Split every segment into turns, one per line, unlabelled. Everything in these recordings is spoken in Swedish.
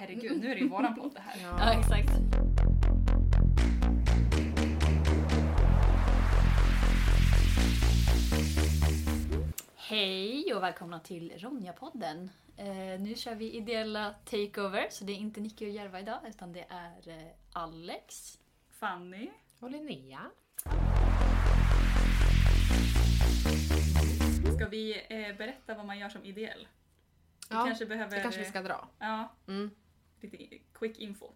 herregud, nu är det ju våran podd det här.
Ja, exakt. Hej och välkomna till Ronja-podden. Eh, nu kör vi ideella takeover, så det är inte Nicky och Järva idag, utan det är eh, Alex.
Fanny.
Och Linnea.
Ska vi eh, berätta vad man gör som ideell? Vi
Ja,
kanske behöver...
Det kanske vi ska dra.
Ja,
Mm.
lite quick info.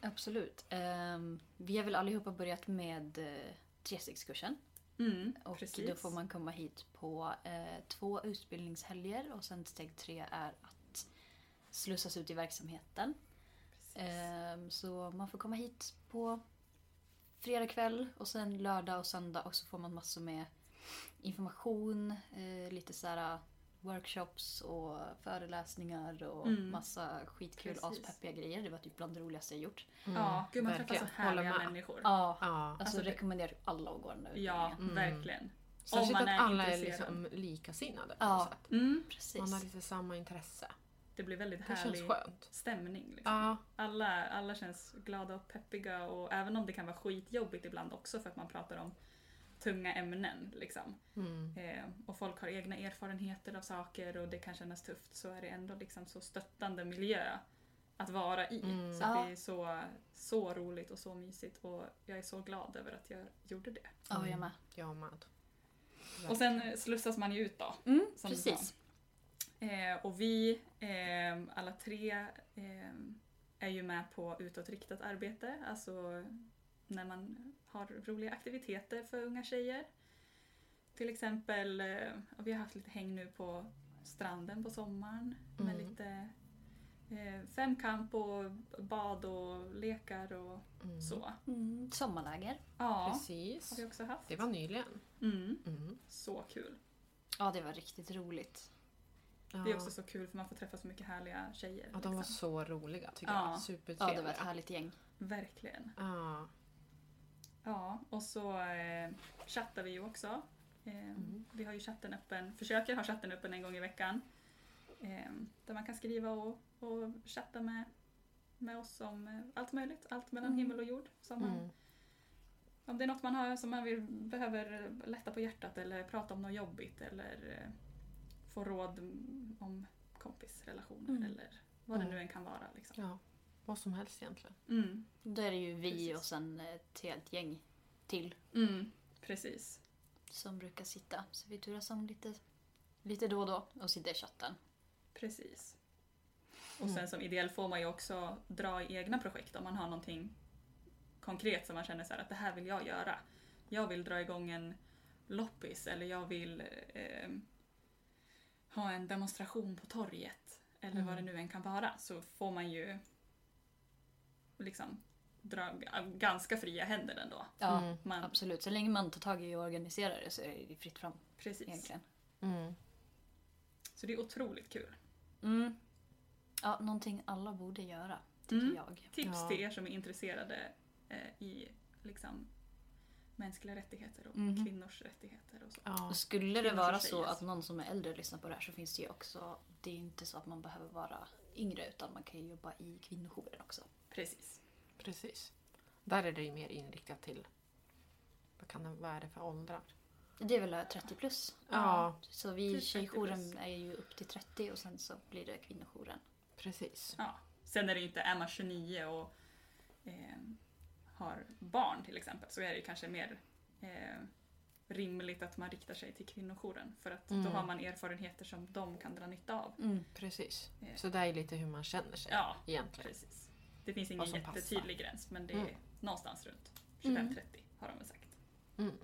Absolut. Ehm, vi har väl allihopa börjat med eh, trestegskursen.
Mm,
Och
precis.
då får man komma hit på eh, två utbildningshelger och sen steg tre är att slussas ut i verksamheten.
Precis.
Ehm, så man får komma hit på fredag kväll och sen lördag och söndag och så får man massor med information, eh, lite såhär workshops och föreläsningar och
Mm.
massa skitkul
Precis.
aspeppiga grejer. Det var typ bland det roligaste jag gjort.
ja, gud man träffar så
Mm, verkligen. Håller
härliga
med.
människor. Ja,
Ja,
Ja.
alltså,
Alltså, det-
rekommenderar alla att gå den där utbildningen.
Mm.
verkligen.
Särskilt
man
att
är
alla är
intresserad.
liksom likasinnade på
Ja.
något sätt.
Mm,
Precis.
Man har lite samma intresse.
det blir väldigt
Det känns
härlig
skönt.
stämning. Liksom.
Ja,
Alla, alla känns glada och peppiga och även om det kan vara skitjobbigt ibland också för att man pratar om tunga ämnen. Liksom.
mm.
Eh, och folk har egna erfarenheter av saker och det kan kännas tufft så är det ändå liksom så stöttande miljö att vara i.
Mm.
Så att
Ja.
det är så, så roligt och så mysigt och jag är så glad över att jag gjorde det.
Ja, jag med.
jag med.
Och sen slussas man ju ut då.
Mm,
Som du sa.
precis.
Eh, och vi ehm, alla tre ehm, är ju med på utåtriktat arbete, alltså när man har roliga aktiviteter för unga tjejer. Till exempel, eh, och vi har haft lite häng nu på stranden på sommaren med
Mm.
lite eh, femkamp och bad och lekar och
Mm.
så.
Mm, sommarläger.
Ja, har
Precis.
vi också haft.
Det var nyligen.
Mm,
Mm.
så kul.
Ja, det var riktigt roligt.
Ja.
Det är också så kul för man får träffa så mycket härliga tjejer.
ja, de var
liksom.
så roliga tycker
Ja.
jag.
Ja, det var
Supertrevliga.
ett härligt gäng.
Verkligen.
Ja.
Ja, och så eh, chattar vi ju också. Eh,
Mm.
Vi har ju chatten öppen, försöker ha chatten öppen en gång i veckan. Eh, där man kan skriva och, och chatta med, med oss om eh, allt möjligt, allt mellan
Mm.
himmel och jord. Som man,
Mm.
Om det är något man har som man vill, behöver lätta på hjärtat eller prata om något jobbigt eller eh, få råd mm, om kompisrelationer
Mm.
eller vad det
Mm.
nu än kan vara. Liksom.
ja, vad som helst egentligen.
Mm.
Då är det ju vi
Precis.
och sen ett helt gäng till
Mm. Precis.
som brukar sitta. Så vi turas om lite, lite då och då och sitter i chatten.
Precis. Och
Mm.
sen som ideell får man ju också dra i egna projekt om man har någonting konkret som man känner så här att det här vill jag göra. Jag vill dra igång en loppis eller jag vill eh, ha en demonstration på torget eller vad det
Mm.
nu än kan vara så får man ju liksom dra g- ganska fria händer ändå.
Ja,
Mm.
Man,
absolut. Så länge man tar tag i och organiserar det så är det fritt fram
precis.
egentligen.
Mm.
Så det är otroligt kul.
Mm. Ja, någonting alla borde göra, tycker
Mm.
jag.
Tips
Ja.
till er som är intresserade eh, i liksom, mänskliga rättigheter och
Mhm.
kvinnors rättigheter och så.
Ja.
Och skulle det
Kvinnor
vara
och tjejer.
så att någon som är äldre lyssnar på det här så finns det ju också, det är ju inte så att man behöver vara yngre utan man kan ju jobba i kvinnojouren också.
Precis.
Precis. Där är det ju mer inriktat till vad, kan det, vad är det för åldrar?
Det är väl 30 plus?
Ja,
Så
Till
vi
30 Typ plus.
tjejjouren är ju upp till 30 och sen så blir det kvinnojouren.
precis.
Ja. Sen är det ju inte, är man 29 och eh, har barn till exempel så är det ju kanske mer eh, rimligt att man riktar sig till kvinnojouren för att då
Mm.
har man erfarenheter som de kan dra nytta av.
Precis.
Eh,
Så det är lite hur man känner sig
Ja,
egentligen.
precis. Det finns ingen
Vad som
jättetydlig gräns men det är
Mm.
någonstans runt 25-30
Mm.
har de väl sagt. Typ.
Mm.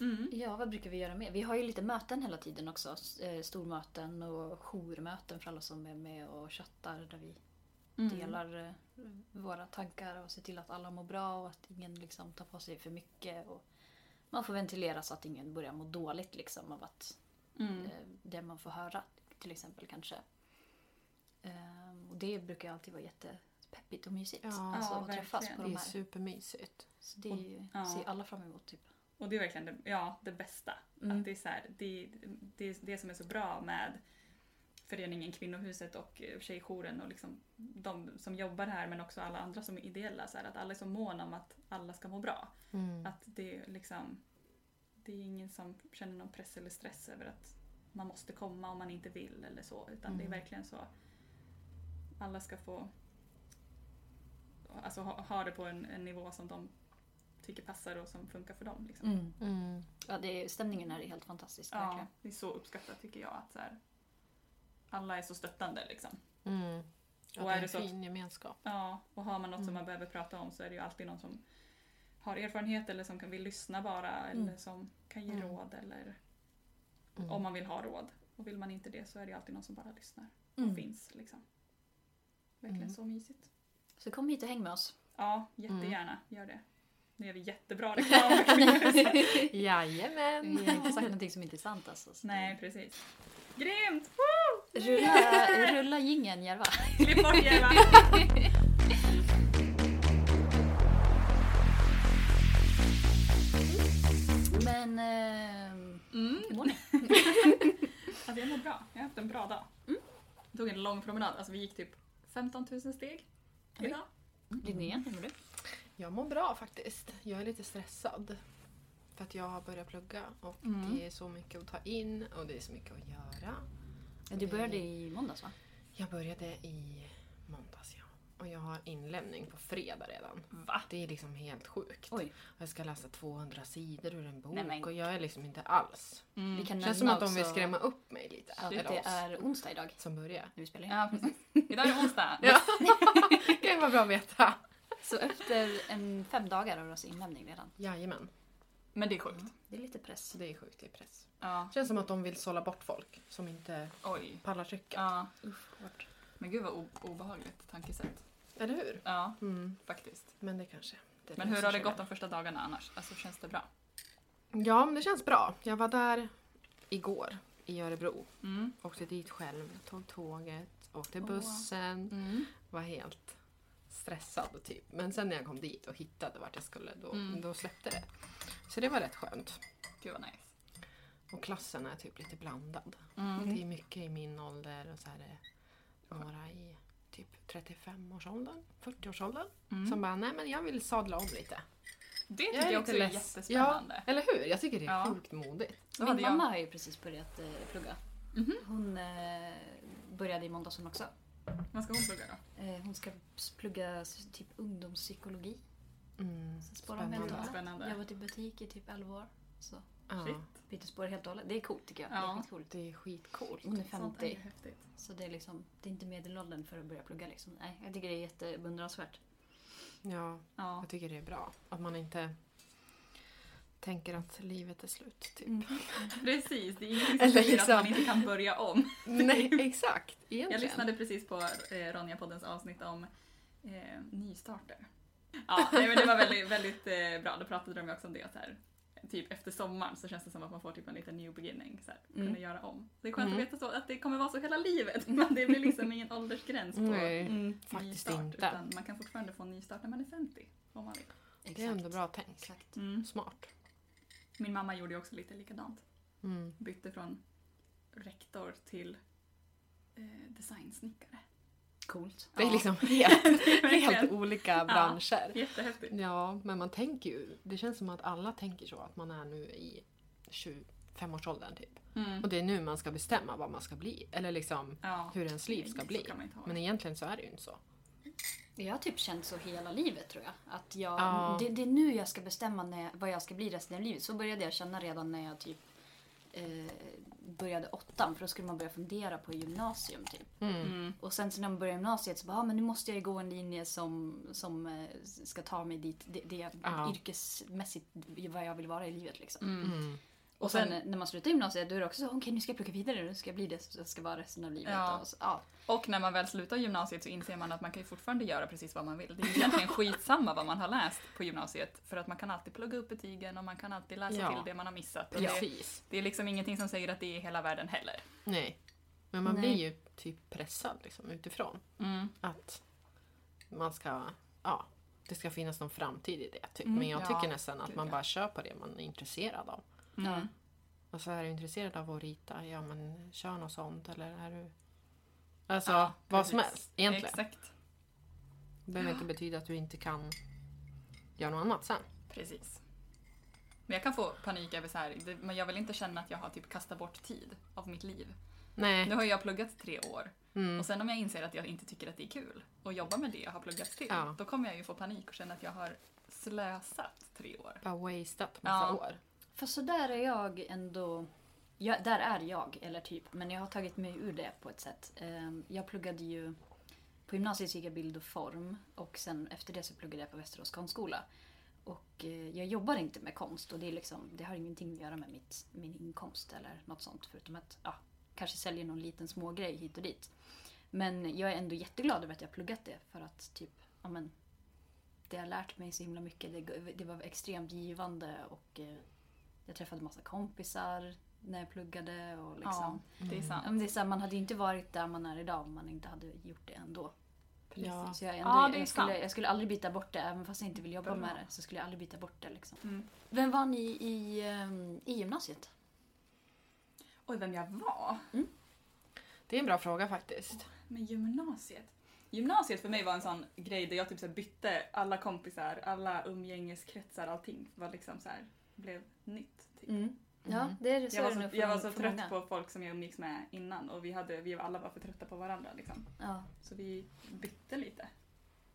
Mm.
Ja, vad brukar vi göra mer? Vi har ju lite möten hela tiden också. S- eh, Stormöten och jourmöten för alla som är med och chattar där vi
Mm.
delar eh, våra tankar och ser till att alla mår bra och att ingen liksom tar på sig för mycket. Och man får ventilera så att ingen börjar må dåligt liksom av att
Mm.
eh, det man får höra till exempel kanske. Ehm, Och det brukar alltid vara jättepeppigt och mysigt.
Ja,
alltså
Ja,
att träffas på
verkligen.
Det
de
är
här.
supermysigt.
Så det är ju,
Ja.
ser alla fram emot. Typ.
Och det är verkligen det, ja, det bästa.
Mm.
Att det, är så här, det, det, det som är så bra med föreningen Kvinnohuset och eh, Tjejjouren och liksom de som jobbar här men också alla andra som är ideella. Så här, att alla är så måna om att alla ska må bra.
Mm.
Att det är liksom det är ingen som känner någon press eller stress över att man måste komma om man inte vill eller så. Utan det
Mm.
är verkligen så. Alla ska få alltså, ha, ha det på en, en nivå som de tycker passar och som funkar för dem. Liksom.
Mm.
Mm.
Ja, det är, stämningen här är helt fantastisk.
Ja,
Verkligen.
det är så uppskattat tycker jag. att så här, Alla är så stöttande liksom.
Mm. Ja,
Och
det
är
är
det
en
så att-
fin gemenskap.
Ja, och har man något
Mm.
som man behöver prata om så är det ju alltid någon som har erfarenhet eller som kan, vill lyssna bara eller
Mm.
som kan ge
Mm.
råd eller
Mm.
om man vill ha råd. Och vill man inte det så är det ju alltid någon som bara lyssnar och
Mm.
finns. Liksom. Verkligen
Mm.
så mysigt.
Så kom hit och häng med oss.
Ja, jättegärna. Gör det. Nu är vi jättebra reklam.
Jajamän!
Mm.
Vi har inte sagt någonting som inte är sant alltså. Så
Nej, precis. Grymt!
det- Rulla, rulla jingeln Järva.
Klipp bort Järva!
Men... ehm,
Mm.
hur mår ni?
Alltså jag mår bra. Jag har haft en bra dag. Jag Mm. tog en lång promenad. Alltså vi gick typ 15 000 steg
Oj.
idag.
Linnea, hur mår du?
Jag mår bra faktiskt. Jag är lite stressad. För att jag har börjat plugga och
Mm.
det är så mycket att ta in och det är så mycket att göra.
Du började i måndags va?
Jag började i måndags ja. Och jag har inlämning på fredag redan.
Va?
Det är liksom helt sjukt.
Oj.
Och Jag ska läsa 200 sidor ur en bok
Nej, men-
och jag är liksom inte alls...
Mm.
Vi kan
känns som
nämna
att de vill
också
skrämma upp mig lite.
Att
eller
det
oss
är onsdag idag
som börjar.
när vi spelar in.
Ja, precis. Idag är det onsdag.
Ja. Det kan ju vara bra att veta.
Så efter en fem dagar har du alltså inlämning redan.
Jajamän.
Men det är sjukt.
Det är lite press.
Så det är sjukt, det är press.
Ja.
Känns som att de vill sålla bort folk som inte
Oj.
pallar trycket.
Ja.
Hårt.
Men gud vad o- obehagligt tankesätt.
Eller hur?
Ja,
Mm,
faktiskt.
men det kanske... Det
Men hur
löser
har det
sig
gått de
väl.
första dagarna annars? Alltså känns det bra?
Ja, men det känns bra. Jag var där igår i Örebro.
Mm.
Åkte dit själv, tog tåget, åkte
Åh.
bussen.
Mm.
Var helt stressad typ. Men sen när jag kom dit och hittade vart jag skulle då,
Mm.
då släppte det. Så det var rätt skönt.
Gud vad nice.
Och klassen är typ lite blandad.
Mm.
Det är mycket i min ålder och så här är några i typ 35-årsåldern, 40-årsåldern.
Mm.
Som bara, nej men jag vill sadla om lite.
Det tycker jag också är
lite less-
jättespännande.
Ja, eller hur? Jag tycker det är
Ja.
sjukt modigt.
Då
Min
hade jag-
mamma har ju precis börjat eh, plugga.
Mhm.
Hon eh, började i måndags hon också.
Vad ska hon plugga då?
Eh, hon ska s- plugga s- typ ungdomspsykologi.
Mm.
Så sparar hon
Spännande.
väldigt
Spännande.
Jag har varit i butik i typ 11 år. Så
Ja,
Shit.
byter spår helt och hållet. Det är coolt tycker jag. Det
Ja.
är skitcoolt.
det är skitcoolt.
Hon är
Sånt är ju
50.
häftigt.
Så det är liksom, det är inte medelåldern för att börja plugga liksom. Nej, jag tycker det är jättebeundransvärt.
Ja,
Ja.
jag tycker det är bra. Att man inte tänker att livet är slut. Typ.
Mm.
Precis, det är ingenting som
Eller
säger att man
liksom-
inte kan börja om.
Nej, exakt. Egentligen.
Mm. Jag lyssnade precis på eh, Ronja-poddens avsnitt om eh, nystarter. Ja, nej, men det var väldigt, väldigt eh, bra. Då pratade de ju också om det. att Så här, typ efter sommaren så känns det som att man får typ en liten new beginning. Så här,
Mm.
Kunna göra om. Det är skönt
Mm.
att veta så, att det kommer vara så hela livet. Men det blir liksom ingen åldersgräns på
Nej,
mm,
faktiskt
nystart.
inte.
Utan man kan fortfarande få en nystart när man är 50. Om man vill.
Det är ändå bra tänkt.
Exakt.
Mm.
Smart.
Min mamma gjorde ju också lite likadant.
Mm.
Bytte från rektor till eh, designsnickare.
Coolt.
Det är
Ja.
liksom helt, helt
Verkligen.
olika branscher.
Jättehäftigt.
Ja, men man tänker ju. Det känns som att alla tänker så. Att man är nu i 25-årsåldern typ.
Mm.
Och det är nu man ska bestämma vad man ska bli. Eller liksom
Ja.
hur ens liv ska
Så
bli.
kan man inte ha det.
Men egentligen så är det ju inte så.
Jag har typ känt så hela livet tror jag. Att jag,
Ja.
det, det är nu jag ska bestämma när jag, vad jag ska bli resten av livet. Så började jag känna redan när jag typ eh, började åttan. För då skulle man börja fundera på gymnasium typ.
Mm.
Och sen så när man började gymnasiet så bara, ah, men nu måste jag ju gå en linje som, som eh, ska ta mig dit. Det, det jag,
Ja.
yrkesmässigt vad jag vill vara i livet liksom.
Mm.
Och sen när man slutar gymnasiet då är det också så, okej nu ska jag plugga vidare, nu ska jag bli det som jag ska vara resten av livet.
Ja.
Och så, ja.
Och när man väl slutar gymnasiet så inser man att man kan ju fortfarande göra precis vad man vill. Det är egentligen skitsamma vad man har läst på gymnasiet för att man kan alltid plugga upp betygen och man kan alltid läsa
Ja.
till det man har missat. Och det,
Precis.
det är liksom ingenting som säger att det är hela världen heller.
Nej. Men man
Nej.
blir ju typ pressad liksom, utifrån.
Mm.
Att man ska... Ja, det ska finnas någon framtid i det. Typ.
Mm,
Men jag
ja.
tycker nästan att
Gud,
man
ja.
bara kör på det man är intresserad av.
Mm.
Ja.
Och så är du intresserad av att rita, ja men kör något sånt. Eller är du Alltså
Ja,
vad som
precis.
helst egentligen.
Exakt.
Det behöver inte betyda att du inte kan göra något annat sen.
Precis. Men jag kan få panik över så här, det, men jag vill inte känna att jag har typ kastat bort tid av mitt liv.
Nej.
Nu har jag pluggat tre år
Mm.
och sen om jag inser att jag inte tycker att det är kul och jobba med det jag har pluggat till,
Ja.
då kommer jag ju få panik och känna att jag har slösat tre år.
Bara wasteat massa
Ja.
år.
För så där är jag ändå... Ja, där är jag, eller typ. Men jag har tagit mig ur det på ett sätt. Ehm, Jag pluggade ju... På gymnasiet så gick jag bild och form och sen efter det så pluggade jag på Västerås konstskola. Och eh, jag jobbar inte med konst och det, är liksom, det har ingenting att göra med mitt, min inkomst eller något sånt. Förutom att ja, kanske säljer någon liten smågrej hit och dit. Men jag är ändå jätteglad över att jag har pluggat det för att typ, ja men, det har lärt mig så himla mycket. Det, det var extremt givande och eh, jag träffade massa kompisar när jag pluggade. Och liksom.
Ja,
Mm.
det är
ja.
sant.
men det är så här, man hade ju inte varit där man är idag om man inte hade gjort det ändå.
Ja.
Så jag, är ändå,
Ja, det är
jag, skulle,
sant.
jag skulle aldrig byta bort det, även fast jag inte vill jobba
Bra.
med det. Så skulle jag aldrig byta bort det. Liksom.
Mm.
Vem var ni i, ehm, i gymnasiet?
Oj, vem jag var?
Det är en bra fråga faktiskt.
Men gymnasiet? Gymnasiet för mig var en sån grej där jag typ så här bytte alla kompisar, alla umgängeskretsar, allting var liksom så här, blev nytt. Typ.
Ja,
Mm.
det är så
Jag var
är det
så,
nog för
jag var
många-
så
för många.
trött på folk som jag umgicks med innan och vi, hade, vi var alla bara för trötta på varandra. Liksom.
Ja.
Så vi bytte lite.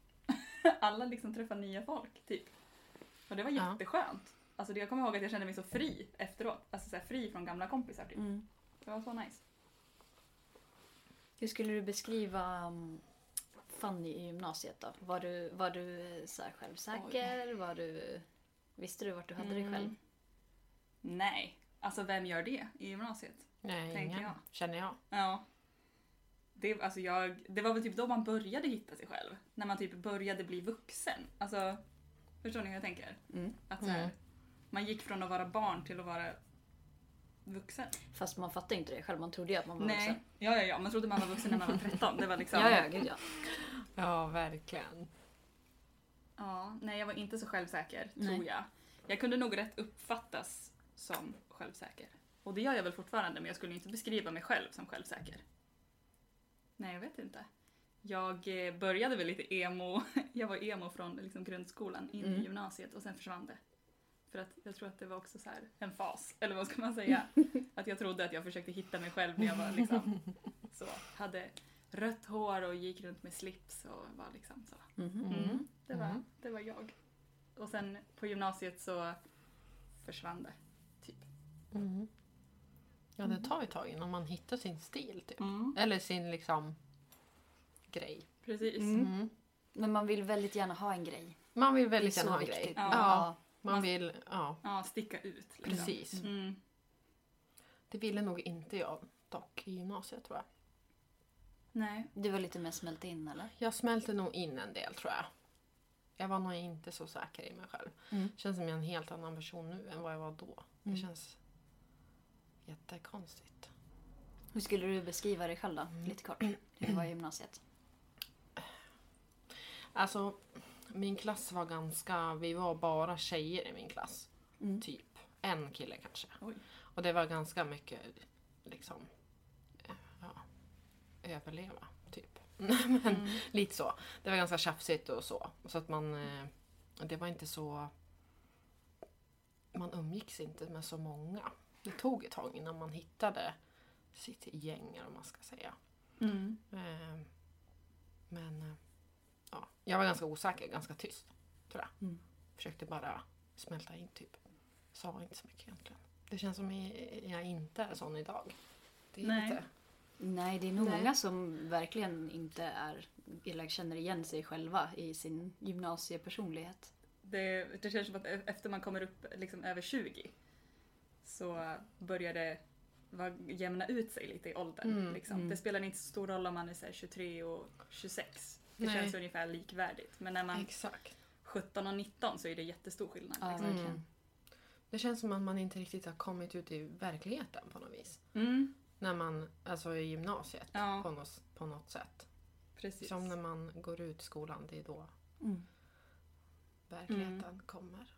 alla liksom träffade nya folk typ. Och det var
Ja.
jätteskönt. Alltså, det- jag kommer ihåg att jag kände mig så fri efteråt. Alltså så här, fri från gamla kompisar typ.
Mm.
Det var så nice.
Hur skulle du beskriva um, Fanny i gymnasiet då? Var du, var du eh, så här självsäker? Var du, visste du vart du hade dig
Mm.
själv?
Nej, alltså vem gör det i gymnasiet?
Nej,
Tänker
ingen.
jag.
Känner jag.
Ja. Det, alltså jag, det var väl typ då man började hitta sig själv. När man typ började bli vuxen. Alltså, förstår ni hur jag tänker?
Mm.
Att så här,
Mm.
Man gick från att vara barn till att vara vuxen.
Fast man fattade inte det själv, man trodde ju att man var
Nej,
vuxen.
ja ja ja. Man trodde man var vuxen när man var 13. Det var liksom...
Ja, ja, gud ja.
Ja, verkligen.
Ja, nej jag var inte så självsäker
Nej.
tror jag. Jag kunde nog rätt uppfattas som självsäker. Och det gör jag väl fortfarande men jag skulle inte beskriva mig själv som självsäker. Nej jag vet inte. Jag eh, började väl lite emo, jag var emo från liksom grundskolan in
Mm.
i gymnasiet och sen försvann det. För att jag tror att det var också så här en fas, eller vad ska man säga? Att jag trodde att jag försökte hitta mig själv när jag var liksom så. Hade rött hår och gick runt med slips och var liksom så.
Mhm.
Mm. Det, var,
Mm.
det var jag. Och sen på gymnasiet så försvann det. Typ.
Mm. Ja, det tar ju ett tag innan man hittar sin stil. Typ. Eller sin liksom grej.
Precis.
Mm.
Mm.
Men man vill väldigt gärna ha en grej.
Man vill
Det är
väldigt
så
gärna ha en
viktigt.
grej.
Ja.
Ja.
Man-
Man vill, ja,
Ja, sticka ut. Liksom.
precis.
Mm.
Det ville nog inte jag dock i gymnasiet tror jag.
Nej.
Du var lite mer smält in eller?
Jag smälte nog in en del tror jag. Jag var nog inte så säker i mig själv.
Mm.
Känns som jag är en helt annan person nu än vad jag var då. Det
Mm.
känns jättekonstigt.
Hur skulle du beskriva dig själv då? Lite kort. Hur var gymnasiet?
Alltså, min klass var ganska... Vi var bara tjejer i min klass.
Mm.
Typ. En kille kanske.
Oj.
Och det var ganska mycket liksom... eh, Ja, överleva, typ. Men
Mm.
lite så. Det var ganska tjafsigt och så. Så att man... eh, Det var inte så... Man umgicks inte med så många. Det tog ett tag innan man hittade sitt gäng, eller vad man ska säga.
Mm.
Eh, Men eh, ja, jag var ganska osäker, ganska tyst. Tror jag.
Mm.
Försökte bara smälta in typ. Sa inte så mycket egentligen. Det känns som i- jag inte är sån idag. Det är
Nej.
lite...
Nej, det är nog
Nej.
många som verkligen inte är, eller känner igen sig själva i sin gymnasiepersonlighet.
Det, det känns som att e- efter man kommer upp liksom över 20 så börjar det va- jämna ut sig lite i åldern.
Mm,
liksom.
mm.
Det spelar inte så stor roll om man är så här, 23 och 26. Det
Nej.
känns ungefär likvärdigt. Men när man är
Exakt.
17 och 19 så är det jättestor skillnad.
Ja,
Liksom.
verkligen.
Mm. Det känns som att man inte riktigt har kommit ut i verkligheten på något vis.
Mm.
När man, alltså i gymnasiet
Ja.
på, något, på något sätt.
Precis.
Som när man går ut
Mm.
Mm.
skolan, det är då verkligheten kommer.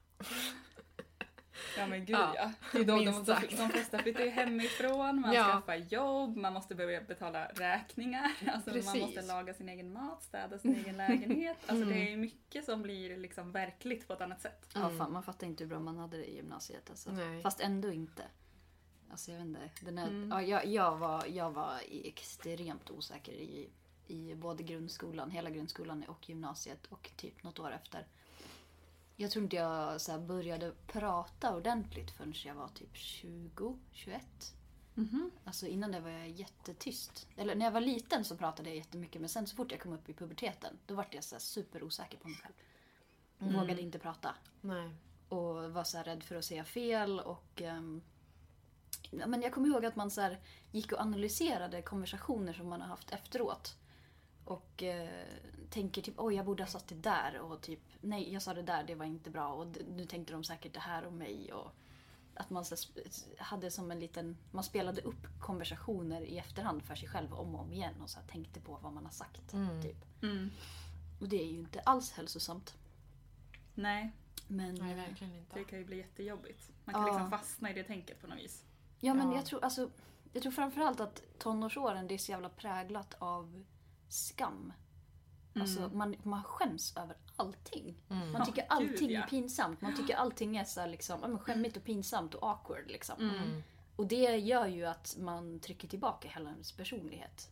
Ja men gud
Ja,
ja. Det är då de,
minst
de,
sagt.
de flesta flyttar ju hemifrån, man
Ja.
skaffar jobb, man måste börja betala räkningar. Alltså man måste
Precis.
laga sin egen mat, städa sin egen lägenhet. Alltså
Mm.
det är ju mycket som blir liksom verkligt på ett annat sätt.
Ja,
Mm.
fan, man fattar inte hur bra man hade det i gymnasiet. Alltså.
Nej.
Fast ändå inte. Alltså, jag, vet inte. Den här,
Mm.
ja, jag, jag, var, jag var extremt osäker i, i både grundskolan, hela grundskolan och gymnasiet och typ något år efter. Jag tror inte jag så här, började prata ordentligt förrän jag var typ 20, 21.
Mhm.
Alltså innan det var jag jättetyst. Eller när jag var liten så pratade jag jättemycket men sen så fort jag kom upp i puberteten då vart jag så här, superosäker på mig själv.
Mm.
Vågade inte prata
Nej.
och var så här rädd för att säga fel. Och, ehm, ja, men jag kommer ihåg att man så här gick och analyserade konversationer som man har haft efteråt. Och eh, tänker typ oj jag borde ha sagt det där och typ nej jag sa det där det var inte bra och d- nu tänkte de säkert det här om mig. Och att man så här sp- hade som en liten, man spelade upp konversationer i efterhand för sig själv om och om igen och så här tänkte på vad man har sagt.
Mm.
Typ.
Mm.
Och det är ju inte alls hälsosamt.
Nej,
Men,
Nej, verkligen inte.
det kan ju bli jättejobbigt. Man kan
Ja.
liksom fastna i det tänket på något vis.
Ja men
Ja.
jag tror alltså, jag tror framförallt att tonårsåren det är så jävla präglat av skam. Alltså man, man skäms över allting.
Mm.
Man
Ja,
tycker
gud,
allting
ja.
är pinsamt. Man tycker allting är så här liksom, ja, men skämmigt och pinsamt och awkward liksom.
Mm.
Och det gör ju att man trycker tillbaka hela ens personlighet.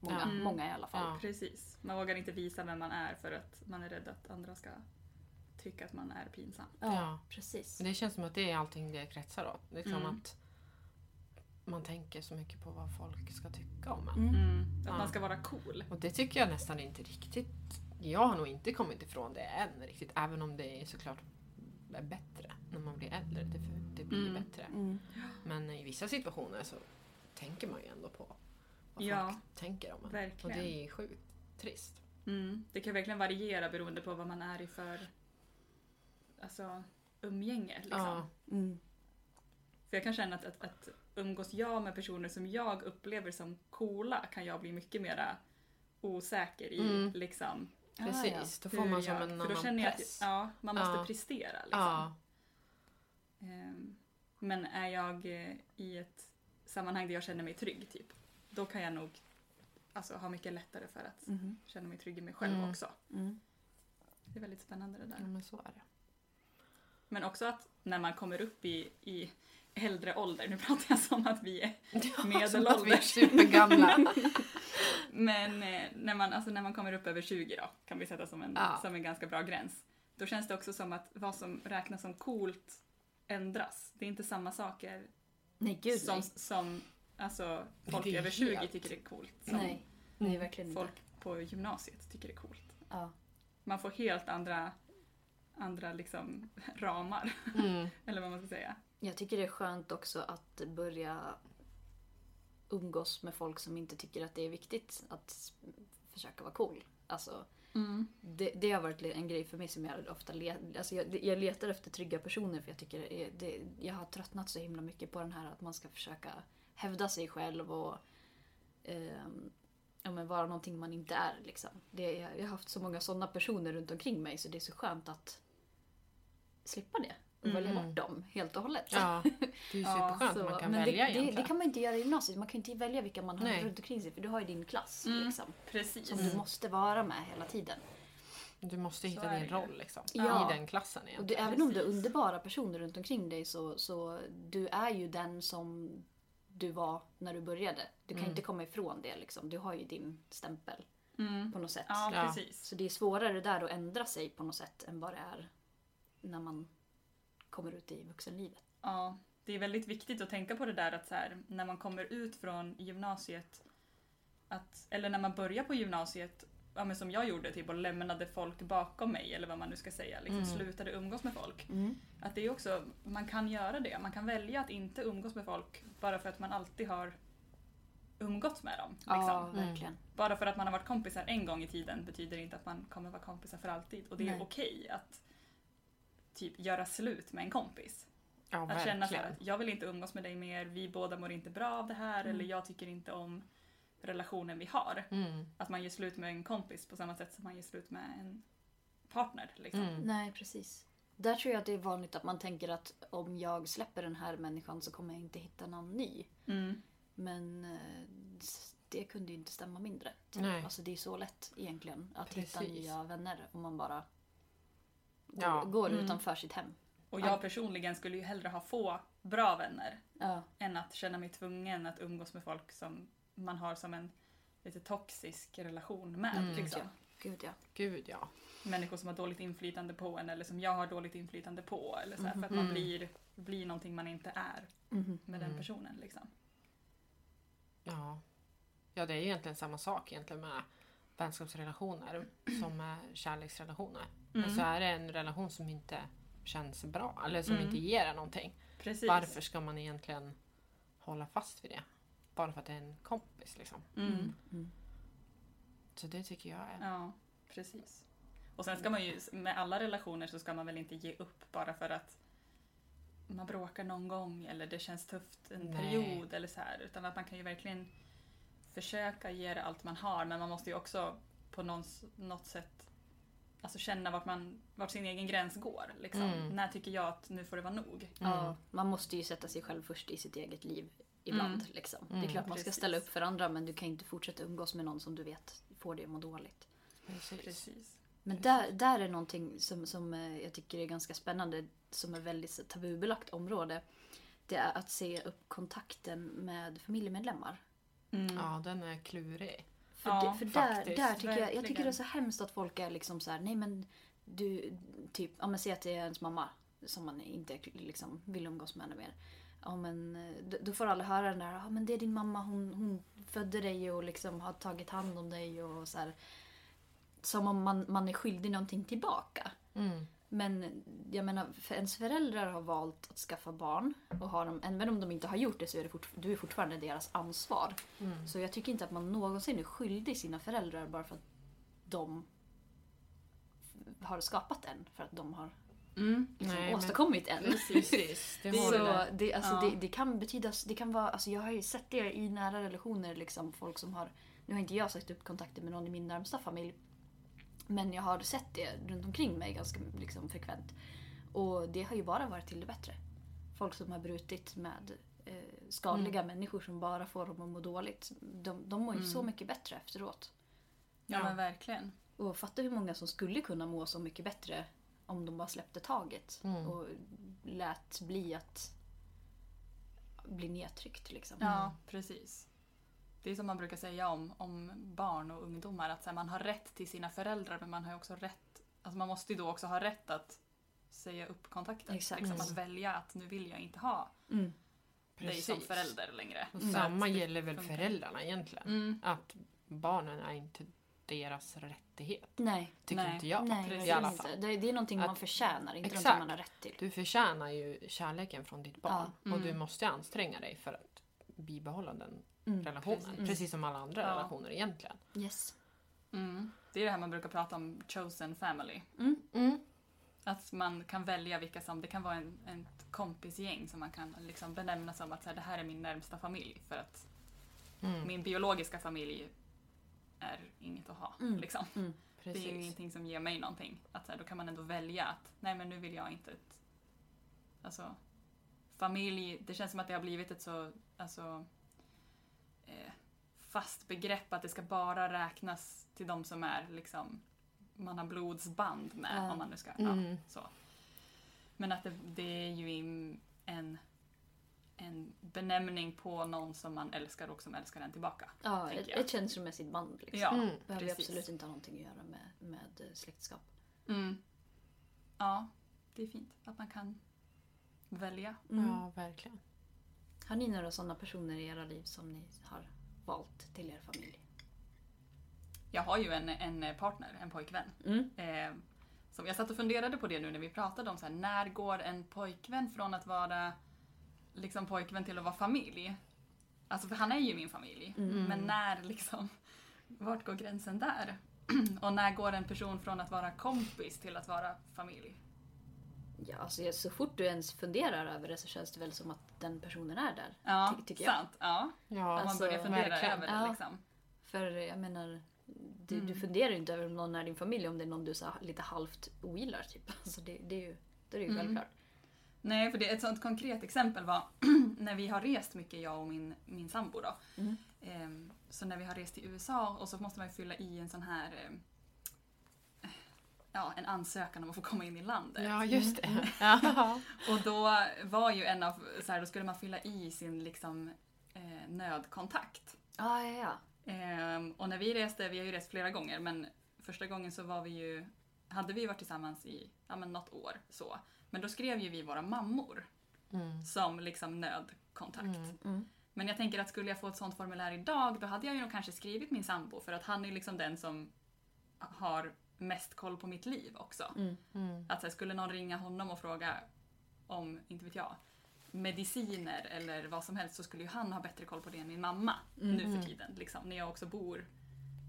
Många,
Ja.
Mm.
många i alla fall.
Ja.
Precis. Man vågar inte visa vem man är för att man är rädd att andra ska tycka att man är pinsam.
Ja,
Ja.
precis.
Men det känns som att det är allting det kretsar åt. Liksom
Mm.
att man tänker så mycket på vad folk ska tycka om en.
Mm.
Mm. Att
Ja.
man ska vara cool.
Och det tycker jag nästan inte riktigt... Jag har nog inte kommit ifrån det än riktigt. Även om det är såklart är bättre när man blir äldre. Det, det blir
Mm.
bättre.
Mm.
Men i vissa situationer så tänker man ju ändå på vad
Ja.
folk tänker om en.
Verkligen.
Och det är sjukt trist.
Mm. Det kan verkligen variera beroende på vad man är i för alltså, umgänge. Liksom.
Ja.
Mm.
För jag kan känna att, att, att umgås jag med personer som jag upplever som coola kan jag bli mycket mera osäker i.
Mm.
Liksom,
Precis,
Ah, ja.
då får
hur
man som
jag-
en
För
annan
då känner jag att
press.
ja, man måste
Ja.
prestera. Liksom.
ja.
Ehm, Men är jag eh, i ett sammanhang där jag känner mig trygg, typ, då kan jag nog alltså, ha mycket lättare för att
Mhm.
känna mig trygg i mig själv
Mm.
också.
Mm.
Det är väldigt spännande det där.
ja, men så är det.
Men också att när man kommer upp i, i äldre ålder, nu pratar jag som att vi är,
Som att vi är
Medelålders.
supergamla.
men eh, när man, alltså när man kommer upp över 20 då, kan vi sätta som en,
Ja.
som en ganska bra gräns. Då känns det också som att vad som räknas som coolt ändras. Det är inte samma saker
Nej gud
som,
nej.
som alltså,
Det
folk
är
över 20
helt-
tycker är coolt. Som
Nej. nej, verkligen inte.
folk på gymnasiet tycker är coolt.
Ja.
Man får helt andra, andra liksom ramar,
Mm.
eller vad man ska säga.
Jag tycker det är skönt också att börja umgås med folk som inte tycker att det är viktigt att försöka vara cool. Alltså, det, det har varit en grej för mig som jag ofta letar alltså jag, jag letar efter trygga personer för jag tycker det är, det, jag har tröttnat så himla mycket på den här att man ska försöka hävda sig själv och ehm, ja, men vara någonting man inte är. Liksom. Det, jag har haft så många sådana personer runt omkring mig så det är så skönt att slippa det och välja
Mm.
bort dem helt och hållet.
Ja, det är ju
Ja,
superskönt att man kan
men
välja
det, det,
egentligen.
det kan man inte göra i gymnasiet. Man kan inte välja vilka man har
Nej. Mm.
runt omkring sig för du har ju din klass
Mm.
liksom,
Precis.
som du måste vara med hela tiden.
Du måste
Så
hitta
är
din
det ju.
roll liksom,
Ja.
i den klassen
Och
igen.
du, även om det är
Precis.
underbara personer runt omkring dig så, så du är ju den som du var när du började. Du kan
Mm.
inte komma ifrån det. Liksom. Du har ju din stämpel
Mm.
på något sätt.
Ja,
Ja.
precis.
Så det är svårare där att ändra sig på något sätt än vad det är när man kommer ut i vuxenlivet.
Ja, det är väldigt viktigt att tänka på det där att så här, när man kommer ut från gymnasiet, att, eller när man börjar på gymnasiet, ja, men som jag gjorde, typ, och lämnade folk bakom mig, eller vad man nu ska säga, liksom,
Mm.
slutade umgås med folk. Att det är också, man kan göra det. Man kan välja att inte umgås med folk bara för att man alltid har umgåtts med dem. Liksom.
Ja,
Mm.
verkligen.
Bara för att man har varit kompisar en gång i tiden betyder inte att man kommer vara kompisar för alltid. Och det är
Nej.
okej att typ göra slut med en kompis.
Ja,
Att känna så här,
verkligen.
att jag vill inte umgås med dig mer, vi båda mår inte bra av det här
Mm.
eller jag tycker inte om relationen vi har.
Mm.
Att man gör slut med en kompis på samma sätt som man gör slut med en partner. Liksom.
Mm.
Nej, precis. Där tror jag att det är vanligt att man tänker att om jag släpper den här människan så kommer jag inte hitta någon ny.
Mm.
Men eh, s- det kunde ju inte stämma mindre. typ.
Nej.
Alltså det är så lätt egentligen att hitta
Precis.
nya vänner om man bara går,
Ja.
går
Mm.
utanför sitt hem.
Och
Ja.
jag personligen skulle ju hellre ha få bra vänner
Ja,
än att känna mig tvungen att umgås med folk som man har som en lite toxisk relation med.
Mm.
liksom.
ja. Gud ja.
Gud ja.
Människor som har dåligt inflytande på en eller som jag har dåligt inflytande på. Eller så här, För att man
Mhm.
blir, blir någonting man inte är
Mhm.
med den
Mm.
personen. Liksom.
Ja. Ja, det är ju egentligen samma sak egentligen med vänskapsrelationer som med kärleksrelationer.
Mm.
Men så är det en relation som inte känns bra eller som
Mm.
inte ger en någonting.
Precis.
Varför ska man egentligen hålla fast vid det? Bara för att det är en kompis liksom.
Mm.
Mm.
Så det tycker jag är...
Ja, precis. Och sen ska man ju, med alla relationer så ska man väl inte ge upp bara för att man bråkar någon gång eller det känns tufft en
Nej.
period eller så här. Utan att man kan ju verkligen försöka ge det allt man har men man måste ju också på någons, något sätt alltså känna vart, man, vart sin egen gräns går. Liksom.
Mm.
När tycker jag att nu får det vara nog?
Ja, man måste ju sätta sig själv först i sitt eget liv ibland.
Mm.
Liksom. Det
Mm.
är klart man ska
Precis.
ställa upp för andra men du kan ju inte fortsätta umgås med någon som du vet får dig att må dåligt.
Precis.
Precis.
Men där, där är någonting som, som eh, jag tycker är ganska spännande, som är väldigt så tabubelagt område. Det är att se upp kontakten med familjemedlemmar.
Mm.
Ja, den är klurig.
För,
Ja,
det, för där,
faktiskt,
där tycker jag, jag tycker
verkligen.
det är så hemskt att folk är liksom så här, nej men du, typ, ja men säg att det är ens mamma som man inte liksom vill umgås med henne mer. Ja men eh, då- då får alla höra den där, ja men det är din mamma, hon, hon födde dig och liksom har tagit hand om dig och så här. Som om man, man är skyldig någonting tillbaka.
Mm.
Men jag menar, för ens föräldrar har valt att skaffa barn. Och har de, även om de inte har gjort det så är det fort, du är fortfarande deras ansvar.
Mm.
Så jag tycker inte att man någonsin är skyldig sina föräldrar bara för att de har skapat en. För att de har
Mm.
liksom
Nej, men
åstadkommit en.
precis. Det har du
Så
där.
det, alltså,
Ja.
det, det kan betyda, det kan vara, alltså, jag har ju sett det i nära relationer, liksom, folk som har, nu har inte jag sagt upp kontakter med någon i min närmsta familj, men jag har sett det runt omkring mig ganska liksom, frekvent. Och det har ju bara varit till det bättre. Folk som har brutit med eh, skadliga
Mm.
människor som bara får dem att må dåligt, de, de mår ju så mycket bättre efteråt.
ja
Ja.
men verkligen.
Och fatta hur många som skulle kunna må så mycket bättre om de bara släppte taget
Mm.
och lät bli att bli nedtryckt liksom.
Ja, Mm, precis. Det är som man brukar säga om, om barn och ungdomar, att så här, man har rätt till sina föräldrar men man har ju också rätt, alltså man måste ju då också ha rätt att säga upp kontakten.
Exakt.
Liksom
Mm.
att välja att nu vill jag inte ha
Mm.
dig som
Precis.
förälder längre.
Och
För att
samma
det
gäller väl
funkar.
föräldrarna egentligen.
Mm,
Att barnen är inte deras rättighet.
Nej,
Tycker
Nej.
inte jag.
nej
precis.
verkligen
I alla
inte.
fall.
Det, det är någonting
Att-
man förtjänar, inte
Exakt.
någonting man har rätt till.
Du förtjänar ju kärleken från ditt barn
Ja.
och du
Mm.
måste anstränga dig för att bibehålla den
Mm.
relationen.
Precis.
Precis. som alla andra
Ja.
relationer egentligen.
Yes.
mm. Det är det här man brukar prata om, chosen family.
Mm.
Att man kan välja vilka som, det kan vara en, en kompisgäng som man kan liksom benämna som att så här, det här är min närmsta familj för att
Mm.
min biologiska familj är inget att ha.
Mm.
Liksom.
Precis.
Det är ju ingenting som ger mig någonting. Att så här, då kan man ändå välja att nej men nu vill jag inte ett... Alltså familj, det känns som att det har blivit ett så alltså, eh, fast begrepp att det ska bara räknas till de som är liksom man har blodsband med
Ja.
om man nu ska. Ja,
Mm.
så. Men att det, det är ju in- en, en benämning på någon som man älskar och som älskar en tillbaka.
Ja,
Tänker
ett,
jag.
ett känslomässigt band liksom.
Ja,
Mm.
Behöver ju
precis.
absolut inte ha någonting att göra med, med eh, släktskap.
Mm. Ja, det är fint att man kan välja.
Mm.
Ja, verkligen.
Har ni några sådana personer i era liv som ni har valt till er familj?
Jag har ju en, en partner, en pojkvän.
Mm.
Eh, som jag satt och funderade på det nu när vi pratade om så här, när går en pojkvän från att vara liksom pojkvän till att vara familj? Alltså för han är ju min familj.
Mm.
Men när liksom, vart går gränsen där? och när går en person från att vara kompis till att vara familj?
Ja, alltså, jag- så fort du ens funderar över det så känns det väl som att den personen är där.
Ja,
Ty- tycker jag.
sant. Ja,
Ja,
om man
Alltså,
börjar fundera
verkligen.
över det
Ja.
liksom.
För jag menar, du, du funderar ju inte över om någon är din familj om det är någon du så här, lite halvt ogillar. Typ. Alltså det, det är ju Då är det ju
Mm.
självklart.
Nej, för det, ett sånt konkret exempel var när vi har rest mycket, jag och min, min sambo. Då.
Mm.
Ehm, så när vi har rest till USA och så måste man ju fylla i en sån här ehm, Ja, en ansökan om att få komma in i landet.
Ja, just
Mm.
det. Ja.
Och då var ju en av, så här, då skulle man fylla i sin liksom eh, nödkontakt.
Ah, ja, ja.
Ehm, och när vi reste, vi har ju rest flera gånger, men första gången så var vi ju, hade vi varit tillsammans i ja, men något år. så. Men då skrev ju vi våra mammor
Mm.
som liksom nödkontakt.
Mm.
Mm.
Men jag tänker att skulle jag få ett sånt formulär idag då hade jag ju nog kanske skrivit min sambo för att han är liksom den som har mest koll på mitt liv också.
Mm.
Mm.
Att så här, skulle någon ringa honom och fråga om, inte vet jag, mediciner eller vad som helst så skulle ju han ha bättre koll på det än min mamma nu
Mhm.
för tiden. Liksom, när jag också bor,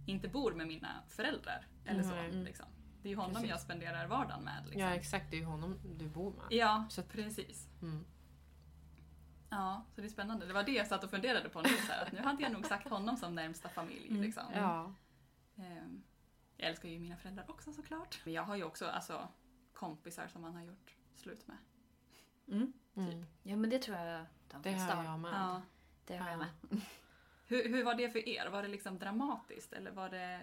inte bor med mina föräldrar. Eller så,
Mm.
liksom. Det är ju honom
Precis.
jag spenderar vardagen med. Liksom.
Ja, exakt. Det är ju honom du bor med.
ja,
Så att-
precis.
Mm.
Ja, så det är spännande. Det var det jag satt och funderade på nu. Så här, att nu hade jag nog sagt honom som närmsta familj.
Mm.
Liksom.
Ja.
Ehm, Jag älskar ju mina föräldrar också såklart. Men jag har ju också alltså, kompisar som man har gjort slut med.
Mm.
Mm.
Ja, men det tror jag de
Det
flesta
har
har.
jag med.
Typ. Ja.
Det har jag med.
Hur, hur var det för er? Var det liksom dramatiskt eller var det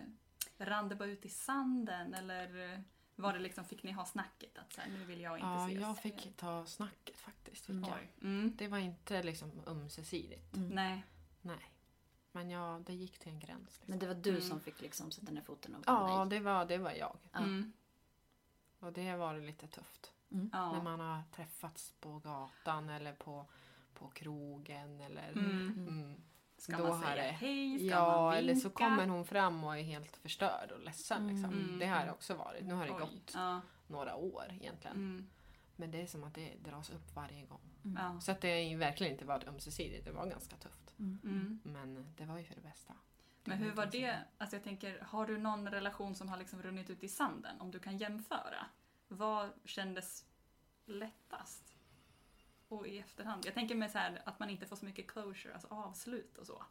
rann det bara ut i sanden eller var det liksom, fick ni ha snacket att så här, nu vill jag inte
Ja,
ses?
jag fick ta snacket faktiskt. fick jag.
Oj. Mm.
Det var inte liksom ömsesidigt.
Mm.
Nej.
Nej. Men ja, det gick till en gräns. Liksom.
Men det var du
Mm.
som fick liksom sätta ner foten och
Ja,
nej.
det var, det var jag.
Ja.
Mm.
Och det var det lite tufft.
Mm.
När
Ja.
man har träffats på gatan eller på, på krogen eller...
Mm.
Mm.
Ska
Då
man
har
säga
det-
hej? Ska man
Ja,
vinka?
eller så kommer hon fram och är helt förstörd och ledsen. Liksom.
Mm.
Det har det också varit. Nu har det
Oj.
gått
Ja.
några år egentligen.
Mm.
Men det är som att det dras upp varje gång.
Mm.
Ja.
Så att det har ju verkligen inte varit ömsesidigt. Det var ganska tufft.
Mm.
Men det var ju för det bästa.
Men hur var det,
Mm.
alltså jag tänker, har du någon relation som har liksom runnit ut i sanden? Om du kan jämföra, vad kändes lättast? Och i efterhand, jag tänker mig så här att man inte får så mycket closure, alltså avslut och så.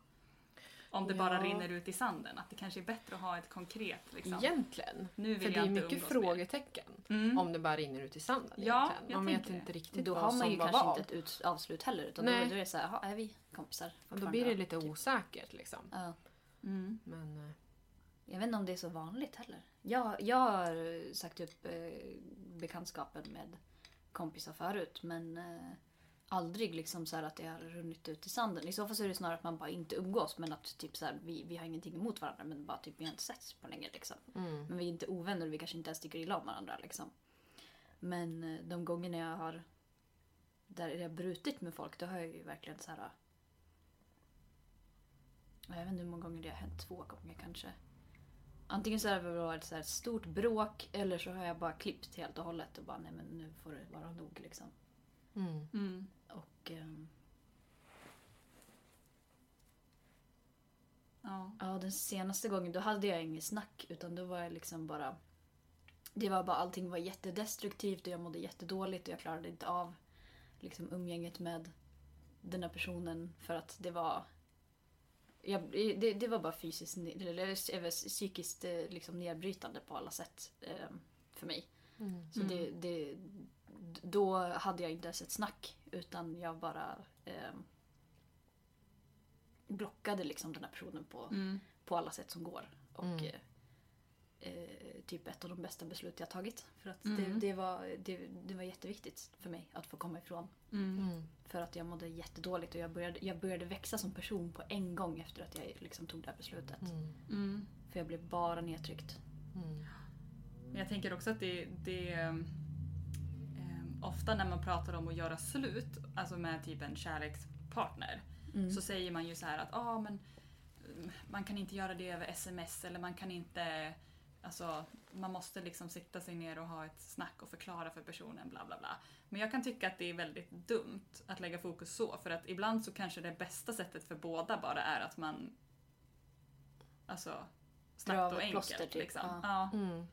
Om det bara
Ja.
rinner ut i sanden, att det kanske är bättre att ha ett konkret liksom.
Egentligen.
Nu
För
vill
det
jag
är
inte
mycket
umgås mer.
frågetecken.
Mm.
Om det bara rinner ut i sanden.
Ja,
egentligen.
jag
man vet
tänker det.
inte riktigt
Då
vad
har man
som
ju
var
kanske
vad.
inte ett ut, avslut heller utan då, då
Nej.
är det så här, "Jaha, är vi kompisar
Och då
fortfarande
blir det
då?"
lite osäkert liksom.
Ja.
Mm.
Men eh,
Jag vet inte om det är så vanligt heller. Jag, jag har sagt upp eh, bekantskapen med kompisar förut men eh, aldrig liksom så här att det har runnit ut i sanden. I så fall så är det snarare att man bara inte umgås men att typ så här, vi, vi har ingenting emot varandra men bara typ vi har inte setts på länge liksom.
mm.
Men vi är inte ovänner och vi kanske inte ens tycker illa om varandra liksom. Men eh, de gångerna jag har där jag har brutit med folk då har jag ju verkligen så här. eh, Jag vet inte hur många gånger det har hänt, två gånger kanske. Antingen så har det varit så här ett stort bråk eller så har jag bara klippt helt och hållet och bara nej men nu får det vara nog liksom.
Mm.
Mm.
Och ehm,
Ja.
Ja, den senaste gången då hade jag inget snack utan då var jag liksom bara... Det var bara allting var jättedestruktivt och jag mådde jättedåligt och jag klarade inte av liksom umgänget med den här personen för att det var... Jag, det, det var bara fysiskt, ne- eller eller psykiskt eh, liksom nedbrytande på alla sätt eh, för mig.
Mm.
Så
Mm.
det, det, då hade jag inte ens ett snack utan jag bara eh, blockade liksom den här personen på
Mm.
på alla sätt som går. Och
Mm.
eh, eh, typ ett av de bästa beslut jag tagit. För att
Mm.
det, det, var, det, det var jätteviktigt för mig att få komma ifrån.
Mm.
Mm.
För att jag mådde jättedåligt och jag började, jag började växa som person på en gång efter att jag liksom tog det här beslutet.
Mm.
Mm.
För jag blev bara nedtryckt.
Mm.
Men jag tänker också att det, det ehm, ehm, ofta när man pratar om att göra slut, alltså med typ en kärlekspartner,
Mm.
så säger man ju så här att ah, men, mm, man kan inte göra det över sms eller man kan inte Alltså, man måste liksom sitta sig ner och ha ett snack och förklara för personen bla bla bla. Men jag kan tycka att det är väldigt dumt att lägga fokus så för att ibland så kanske det bästa sättet för båda bara är att man Alltså
Dra
snabbt
av
och
ett
enkelt.
plåster, typ.
liksom.
Ja.
Ja.
Mm.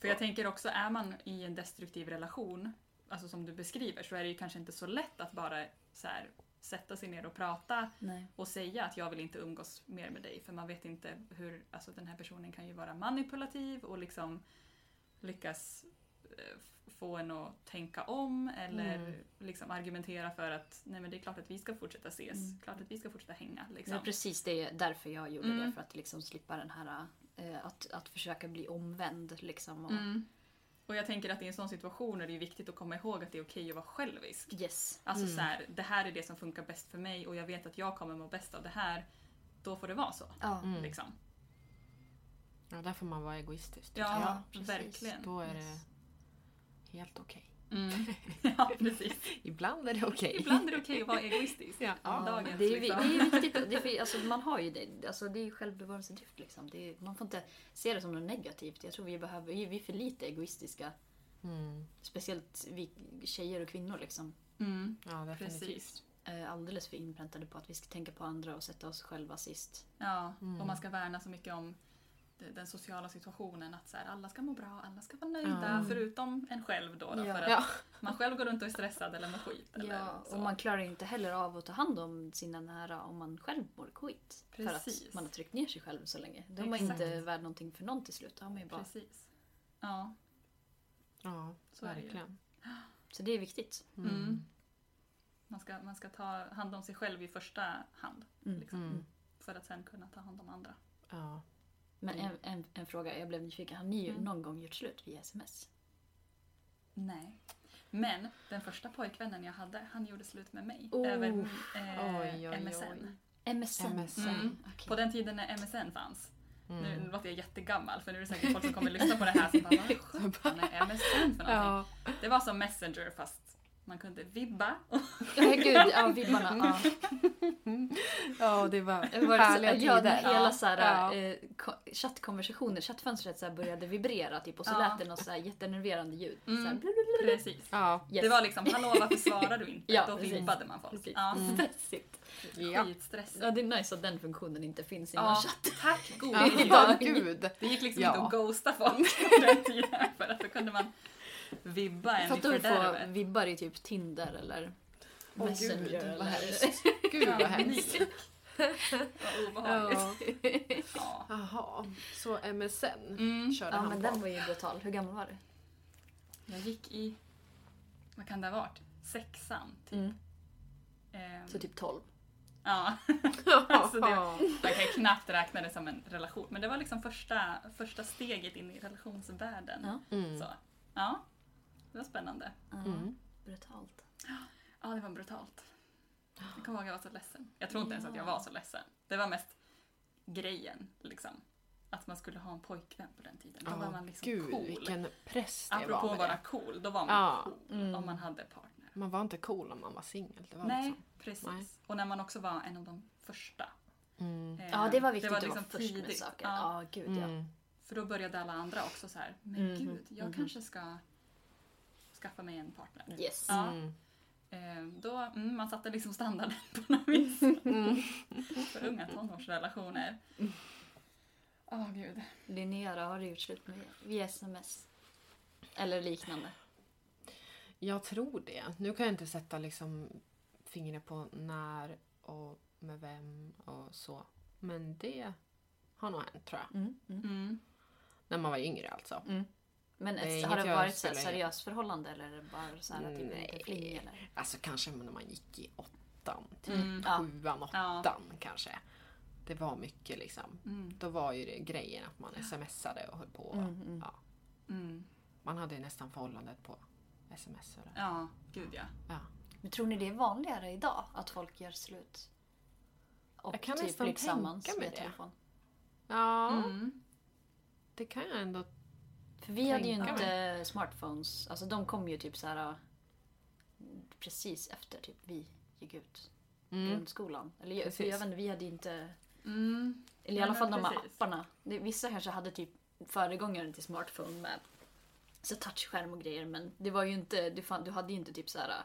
För jag tänker också, är man i en destruktiv relation, alltså som du beskriver, så är det ju kanske inte så lätt att bara så här, sätta sig ner och prata
Nej.
och säga att jag vill inte umgås mer med dig. För man vet inte hur, alltså den här personen kan ju vara manipulativ och liksom lyckas eh, f- få en att tänka om eller
Mm.
liksom argumentera för att nej men det är klart att vi ska fortsätta ses,
Mm.
klart att vi ska fortsätta hänga.
Det
Liksom.
är precis det är därför jag gjorde det.
Mm.
För att liksom slippa den här eh, att, att försöka bli omvänd. Liksom, och,
Mm. Och jag tänker att i en sån situation är det ju viktigt att komma ihåg att det är okej att vara självisk.
Yes.
Alltså
Mm.
så här, det här är det som funkar bäst för mig och jag vet att jag kommer må bäst av det här. Då får det vara så.
Ja.
Mm.
Liksom.
Ja, där får man vara egoistisk. tycker
Ja,
Ja, precis.
verkligen.
jag. Då är det
Yes.
helt okej.
Mm. Ja, precis.
Ibland är det okej.
Ibland är det okej att vara egoistisk.
Ja.
Ja,
Dagens,
det, är, ju-
liksom.
det är ju viktigt. Det är, för- alltså, man har ju det. Alltså, det är ju självbevarelsedrift. Liksom. Det är, man får inte se det som något negativt. Jag tror vi, behöver, vi är för lite egoistiska.
Mm.
Speciellt vi tjejer och kvinnor. Liksom,
Mm.
Ja, definitivt.
Precis.
eh, alldeles för inpräntade på att vi ska tänka på andra och sätta oss själva sist.
Ja,
Mm.
och man ska värna så mycket om de- den sociala situationen. Att så här, alla ska må bra, alla ska vara nöjda
Mm.
förutom en själv då. då
Ja.
För att
Ja.
man själv går runt och är stressad eller mår skit.
Ja,
Eller så.
och man klarar ju inte heller av att ta hand om sina nära om man själv mår skit. För
Precis.
att man har tryckt ner sig själv så länge. Då är man
Exakt.
inte värd någonting för någon till slut. Då har man ju bara.
Precis. Ja,
ja,
så är det ju.
verkligen.
Så det är viktigt.
Mm. Man, ska, man ska ta hand om sig själv i första hand.
Mm.
Liksom,
Mm.
För att sen kunna ta hand om andra.
Ja.
Men
Mm.
en, en, en fråga, jag blev nyfiken. Har ni ju
Mm.
någon gång gjort slut via sms?
Nej. Men den första pojkvännen jag hade, han gjorde slut med mig.
Oh.
Över eh,
Oj, oj, oj.
MSN.
MSN?
MSN.
Mm.
Okej.
På den tiden när MSN fanns.
Mm.
Nu låter jag jättegammal för nu är det säkert folk som kommer lyssna på det här som bara vad sjutton är MSN för någonting?
Ja.
Det var som Messenger fast man kunde vibba.
Ja, gud, ja, vibbarna.
Mm.
Ja.
ja, det var
Det var
härliga
så, ja, när
tider.
hela så här,
Ja.
eh, ko- chattkonversationer, chattfönstret så här började vibrera typ, och så
Ja.
lät det något så här jättenerverande ljud.
Mm.
Så här,
Precis.
Ja.
yes.
Det var liksom hallå varför svarar du inte?
Ja,
Då
precis.
vibbade man folk.
Precis. Mm.
Ja,
stressigt.
ja.
Skitstressigt.
Ja, det är nice att den funktionen inte finns i någon
Ja,
chatt.
tack gode
Ja,
gud.
Ja.
gud.
Det gick liksom
Ja.
inte att ghosta folk på den tiden för att då kunde man vibba en i
Fattar du att få
fördärvet.
vibbar i typ Tinder eller
Åh,
Messenger
gud, vad
eller
hemskt. Gud
Ja,
vad hemskt.
panik. Vad obehagligt.
Ja.
Ja.
Jaha, så MSN
Mm.
körde
Ja,
han
men
på.
den var ju brutal. Hur gammal var du?
Jag gick i, vad kan det ha varit, sexan typ.
Mm.
Ehm,
Så typ 12.
Ja, alltså det, man kan ju knappt räkna det som en relation. Men det var liksom första, första steget in i relationsvärlden.
Ja.
Mm.
Så, ja, det var spännande.
Ja,
Mm.
Brutalt.
Ja, det var brutalt. Jag kommer ihåg att jag var så ledsen. Jag tror inte ens att jag
Ja.
var så ledsen. Det var mest grejen, liksom. Att man skulle ha en pojkvän på den tiden. Då var
Ja,
man liksom
gud
cool.
vilken press det
Apropå
var
att
med
vara
det.
cool, då var man
Ja.
cool
mm.
om man hade partner.
Man var inte cool om man var singel. Det var
Nej,
liksom-
precis.
Nej.
Och när man också var en av de första.
Mm.
Eh,
Ja, det var viktigt att vara först med saker.
Ja,
Ja, gud ja.
Mm.
för då började alla andra också så här, men
Mhm,
gud, jag
mhm.
kanske ska skaffa mig en partner.
Yes.
Ja.
Mm.
Eh, då, mm, man satte liksom standarden på något vis
Mm.
för unga tonårsrelationer. Åh gud.
Linnea, har du gjort slut med via sms? Eller liknande.
Jag tror det. Nu kan jag inte sätta liksom fingret på när och med vem och så. Men det har nog hänt tror jag.
Mm.
När man var yngre alltså.
Men
Det är
ett,
inget
har det
jag
varit så här
spelar in.
seriöst förhållande eller är det bara så här typ
Nej.
lite fling eller?
Alltså kanske när man gick i åttan, typ
Mm.
Ja.
sjuan,
Ja.
åttan kanske. Det var mycket liksom.
Mm.
Då var ju det grejen att man smsade och höll på.
Mm, mm.
Ja.
Mm.
Man hade ju nästan förhållandet på sms. Och det.
Ja, gud ja.
Ja.
Men tror ni det är vanligare idag att folk gör slut? Och typ
Jag kan nästan
blir
tänka
tillsammans
mig
via
det.
telefon?
ja,
Mm.
det kan jag ändå.
För vi hade ju
Tänka
inte smartphones. Alltså de kom ju typ så här äh, precis efter typ vi gick ut
Mm.
grundskolan. Eller jag, för
Precis.
jag vet inte, vi hade inte...
Mm.
Eller i
Ja,
alla
men
fall de här
precis.
apparna. Det- Vissa kanske hade typ föregångaren till smartphone med så touchskärm och grejer men det var ju inte, du, fan, du hade ju inte typ så här äh,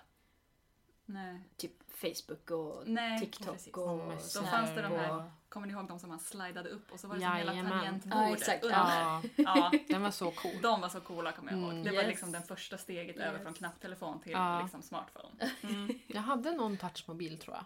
Nej.
typ Facebook och
Nej,
TikTok
precis.
och
Och
Snap
Då fanns det de
och-
här, kommer ni ihåg de som man slidade upp och så var det som hela
Jajamän.
tangentbordet
Ja, exakt.
under?
Ja,
Ja,
den var så cool.
de var så coola kommer jag ihåg.
Mm.
Det var
Yes.
liksom det första steget över
Yes.
från knapptelefon till
Ja.
liksom smartphone. Mm.
Jag hade någon touchmobil tror jag.